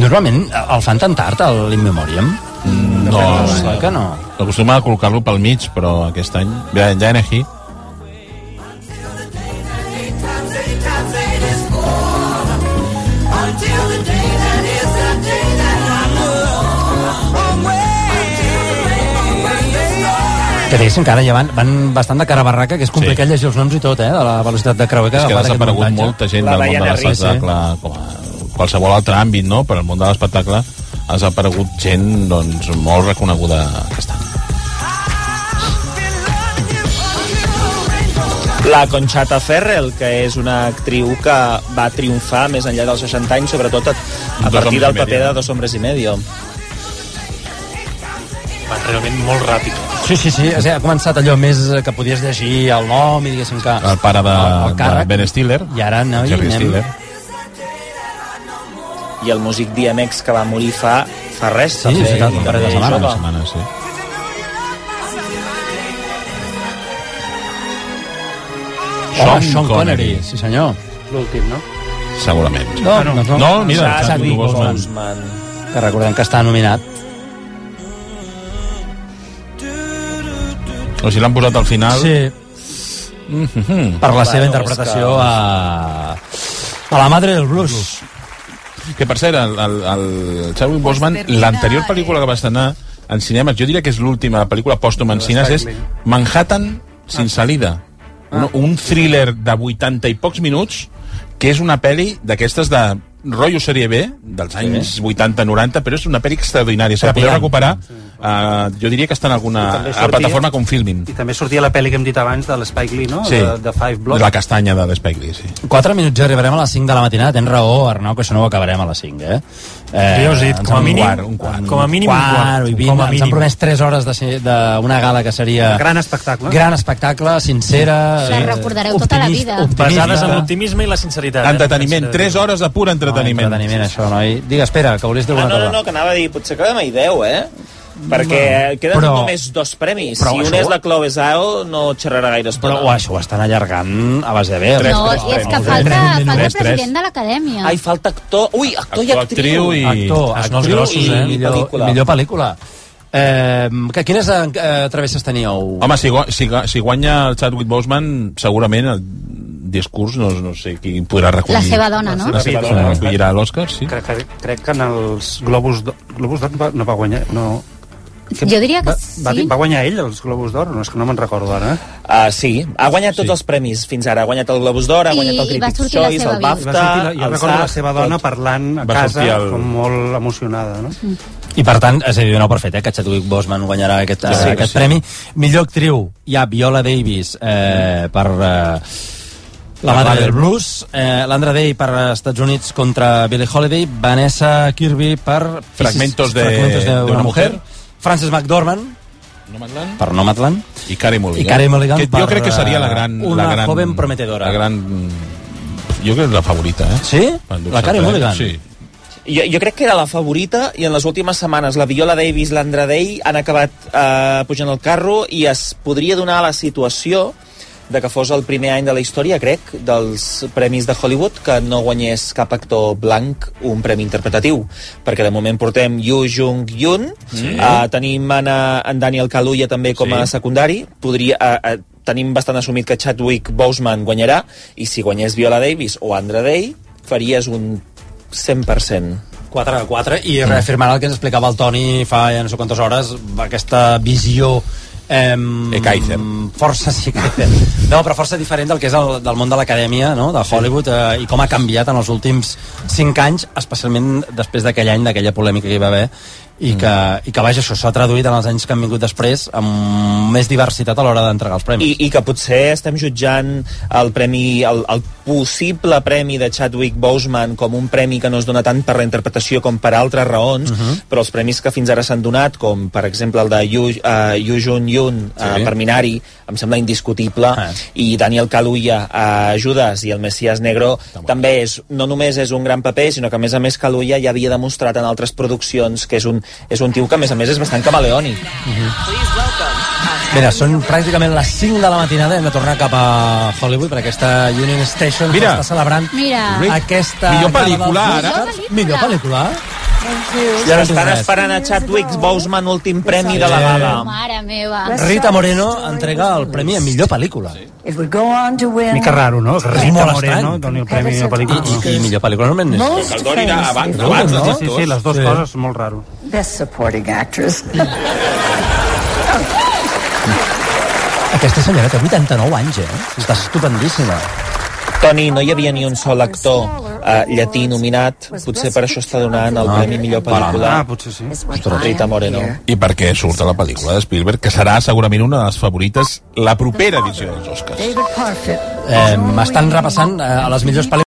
Normalment eh, el fan tan tard, el l'In Memoriam? No, no, sé que no. Acostuma a col·locar-lo pel mig, però aquest any... Brian Janehy. Until the day that is the day that I know. Until the rainbow burns the sky. Que diguéssim que ara ja van, van bastant de cara a barraca, que és complicat sí. llegir els noms i tot, eh, de la velocitat de creuer que És que ha agafat aquest desaparegut muntatge. molta gent del món de l'espectacle, com a qualsevol altre àmbit, no? Però el món de l'espectacle ha desaparegut gent doncs, molt reconeguda aquest any. La Conchata Ferrell, que és una actriu que va triomfar més enllà dels 60 anys, sobretot a, a Dos hombres partir del y medio, paper de no? Dos hombres i medio. Va, realment molt ràpid. Sí, sí, sí, o sigui, ha començat allò més eh, que podies llegir el nom i diguéssim que... El pare de, el càrrec. de Ben Stiller. I ara, no, hi Jerry anem. Stiller. I el músic DMX que va morir fa, fa res, Sí, sí, clar, un parell de setmanes. jove. setmana, sí. Sean, Sean Connery, sí senyor. Doncs, L'últim, no? Segurament. No, no, no. Ah, no mira, Chadwick Chadwick Boseman. Boseman. Que recordem que està nominat. O sigui, l'han posat al final. Sí. Mhm. Per la Bueno, seva interpretació és a... A la madre del blues. Que per cert, el, el, el Chadwick Boseman, l'anterior pel·lícula que va estrenar en cinemes, jo diria que és l'última pel·lícula pòstuma en cines, és Manhattan sin salida. Un, un thriller de 80 i pocs minuts que és una pel·li d'aquestes de rotllo sèrie B, dels anys 80-90, però és una pel·li extraordinària. Se la podeu recuperar, eh, jo diria que està en alguna també a sortia- plataforma com Filmin. I també sortia la pel·li que hem dit abans de l'Spike Lee, no? Sí. De, de Five Blocks. La castanya de l'Spike Lee, sí. 4 minuts ja arribarem a les 5 de la matinada. Tens raó, Arnau, que això no ho acabarem a les 5, eh? Jo ja us he dit, ens com a han- mínim- un quart, un quart, com a mínim un quart. i vint, Com a Ens han mínim. promès 3 hores de ser- d'una gala que seria... Gran espectacle. Gran espectacle, sincera... La eh, recordareu tota la optimista, Ah, vida. optimista. Basades en l'optimisme i la sinceritat. eh? Entreteniment, 3 hores de pur entreteniment. Ah, entreteniment, això, noi. Digues, espera, que volies dir Ah, no, alguna no, cosa. no, que anava a dir, potser quedem a 10, eh? Perquè eh, queden Però- només dos premis. però si un això- és la Chloe Zhao, no xerrarà gaire estona. Però uah, això ho estan allargant a base de bé. Tres, No, tres, i és que tres, falta, tres, falta tres, president de l'acadèmia. Ai, falta actor... Ui, actor, i actriu. Actor, Els actriu nous grossos, i, eh? millor, pel·lícula. millor pel·lícula. Eh, que quines eh, travesses teníeu? Home, si, gua- si, ga- si guanya el Chadwick Boseman, segurament el discurs no, no sé qui podrà recollir. La seva dona, no? La seva dona recollirà l'Òscar, sí. Crec, que, crec que en els Globus d'Or... Globus d'Or va, no va guanyar... No. Jo diria que va, va, sí. va guanyar ell els Globus d'Or? No, és que no me'n recordo ara. Uh, sí, ha guanyat tots sí. els premis fins ara. Ha guanyat el Globus d'Or, ha I guanyat el va Critics' sortir la Choice, seva el I vida. BAFTA, va sortir, la, jo el recordo la SAG, seva dona tot. parlant a Va casa, sortir el... el- com molt emocionada, no? Mm. I per tant, és a dir, no per fet, eh, que Chadwick Boseman guanyarà aquest, Sí, sí, sí, aquest sí. sí. premi. Millor actriu, hi ha Viola Davis eh, per... Eh, la madre del blues, eh, l'Andra Day per Estats Units contra Billie Holiday, Vanessa Kirby per... Fragmentos de- Fragmentos de una mujer. Frances McDormand per Nomadland. I Carey Mulligan. I Carey Mulligan que, per, jo crec que seria la eh, gran... una la gran, joven prometedora. La gran... Jo crec que és la favorita, eh? Sí? Per endur-se La Carey el premi. Mulligan? Sí. jo, jo crec que era la favorita i en les últimes setmanes la Viola Davis, l'Andra Day han acabat eh, pujant al carro i es podria donar la situació de que fos el primer any de la història, crec, dels premis de Hollywood que no guanyés cap actor blanc un premi interpretatiu, perquè de moment portem Yu Jung Yun, sí. uh, tenim en, eh, en Daniel Kaluuya també com a Sí. secundari, podria, uh, uh, tenim bastant assumit que Chadwick Boseman guanyarà, i si guanyés Viola Davis o Andra Day, faries un 100%. 4 de 4 i reafirmant el que ens explicava el Toni fa ja no sé quantes hores aquesta visió ehm, Ekaizer. força sí que... no, però força diferent del que és el, del món de l'acadèmia no? de Hollywood eh, i com ha canviat en els últims 5 anys especialment després d'aquell any, d'aquella polèmica que hi va haver i que, i que vaja, això s'ha traduït en els anys que han vingut després amb més diversitat a l'hora d'entregar els premis. I, I que potser estem jutjant el premi, el, el possible premi de Chadwick Boseman com un premi que no es dona tant per la interpretació com per altres raons, uh -huh. però els premis que fins ara s'han donat, com per exemple el de Yu, uh, Yu Jun Yun uh, Sí. per Minari, em sembla indiscutible, i Daniel Kaluuya a Judas i el Messias Negro, també és, no només és un gran paper, sinó que a més a més Kaluuya ja havia demostrat en altres produccions que és un, és un tio que a més a més és bastant camaleònic. Mira, són pràcticament les 5 de la matinada hem de tornar cap a Hollywood per aquesta Union Station Mira. que està celebrant Mira. aquesta... Millor gala pel·lícula, dels ara. Oscars. Millor pel·lícula. I ara estan esperant a Chadwick Boseman últim premi de la gala. Mare meva. Rita Moreno entrega el premi a millor pel·lícula. It would go on to win. Mica raro, no? Que Rita molt Moreno estrany. doni el premi a la pel·lícula. I, i, i millor pel·lícula normalment és... Most El Doni era abans- abans dels Sí, sí, actors. les dues coses són molt raro. Best supporting actress. Aquesta senyora té 89 anys, eh? Està estupendíssima. Toni, no hi havia ni un sol actor eh, llatí nominat, potser per això està donant el premi millor pel·lícula. Ah, potser sí. Rita Moreno. I perquè surt a la pel·lícula de Spielberg, que serà segurament una de les favorites la propera edició dels Oscars. David Parfit. Eh, M'estan repassant eh, a les millors pel·lícules